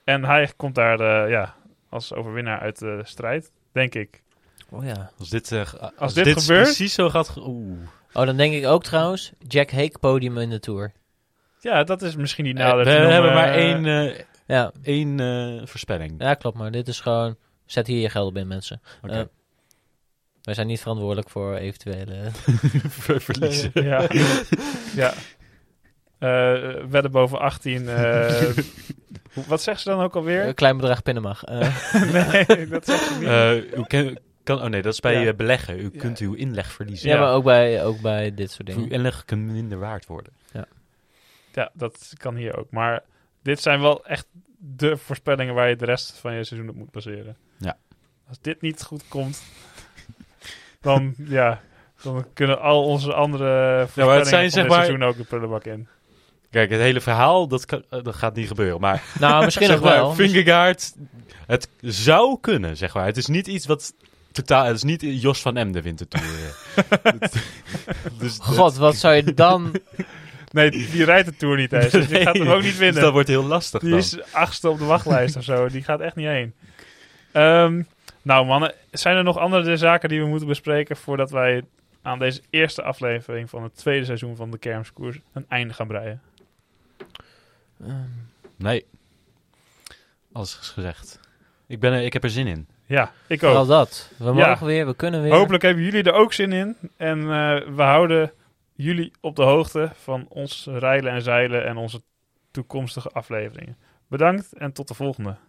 Speaker 1: En hij komt daar eh, ja, als overwinnaar uit de strijd, denk ik.
Speaker 3: Oh ja.
Speaker 2: als dit, eh, als
Speaker 1: dit gebeurt-
Speaker 2: precies zo gaat... ge- Oeh.
Speaker 3: Oh, dan denk ik ook trouwens, Jack Hake podium in de Tour.
Speaker 1: Ja, dat is misschien niet
Speaker 2: Eh,
Speaker 1: nader
Speaker 2: we
Speaker 1: te noemen.
Speaker 2: hebben maar
Speaker 1: Eh,
Speaker 2: één, eh,
Speaker 3: Ja,
Speaker 2: één eh, voorspelling.
Speaker 3: ja, klopt. Maar dit is gewoon... Zet hier je geld op in, mensen.
Speaker 2: Oké. [LAUGHS]
Speaker 3: Eh, wij zijn niet verantwoordelijk voor eventuele...
Speaker 2: Ver-
Speaker 1: [LAUGHS]
Speaker 2: verliezen.
Speaker 1: [LAUGHS] ja. ja. Eh, wedden boven 18.
Speaker 2: [LAUGHS]
Speaker 1: eh, hoe- wat zegt ze dan ook alweer?
Speaker 3: Een klein bedrag pinnen mag. Eh,
Speaker 1: [LAUGHS] nee, dat zegt ze niet.
Speaker 2: Eh, u ken- kan, oh nee, dat is bij
Speaker 1: Ja.
Speaker 2: eh, beleggen. U kunt uw inleg verliezen.
Speaker 3: ja, maar ook bij, ook bij dit soort
Speaker 2: Uw
Speaker 3: dingen.
Speaker 2: inleg kan minder waard worden.
Speaker 1: Ja, dat kan hier ook. Maar dit zijn wel echt de voorspellingen waar je de rest van je seizoen op moet baseren.
Speaker 2: Ja.
Speaker 1: Als dit niet goed komt, [LAUGHS] dan, ja, dan kunnen al onze andere voorspellingen
Speaker 2: zijn,
Speaker 1: van
Speaker 2: zeg
Speaker 1: dit
Speaker 2: maar-
Speaker 1: seizoen ook de prullenbak in.
Speaker 2: Kijk, het hele verhaal, dat, kan, eh, dat gaat niet gebeuren. Maar,
Speaker 3: Nou, misschien nog
Speaker 2: zeg maar,
Speaker 3: wel.
Speaker 2: Fingergaard, het zou kunnen, zeg maar. Het is niet iets wat totaal... Het is niet Jos van M de Wintertour. eh. [LAUGHS] dus,
Speaker 3: God, wat zou je dan...
Speaker 1: Nee, die rijdt de Tour niet
Speaker 2: [LAUGHS]
Speaker 1: eens. Dus die gaat hem ook niet
Speaker 2: dus
Speaker 1: winnen.
Speaker 2: dat wordt heel lastig
Speaker 1: Die
Speaker 2: dan.
Speaker 1: is achtste op de wachtlijst of zo. Die gaat echt niet heen. Ehm, nou mannen, zijn er nog andere zaken die we moeten bespreken voordat wij aan deze eerste aflevering van het tweede seizoen van de Kermskoers een einde gaan breien?
Speaker 2: Nee. Alles is gezegd. Ik, ben er, ik heb er zin in.
Speaker 1: Ja, ik
Speaker 3: Al
Speaker 1: ook.
Speaker 3: dat. We
Speaker 1: Ja.
Speaker 3: mogen weer, we kunnen weer.
Speaker 1: Hopelijk hebben jullie er ook zin in. En eh, we houden jullie op de hoogte van ons rijden en zeilen en onze toekomstige afleveringen. Bedankt en tot de volgende.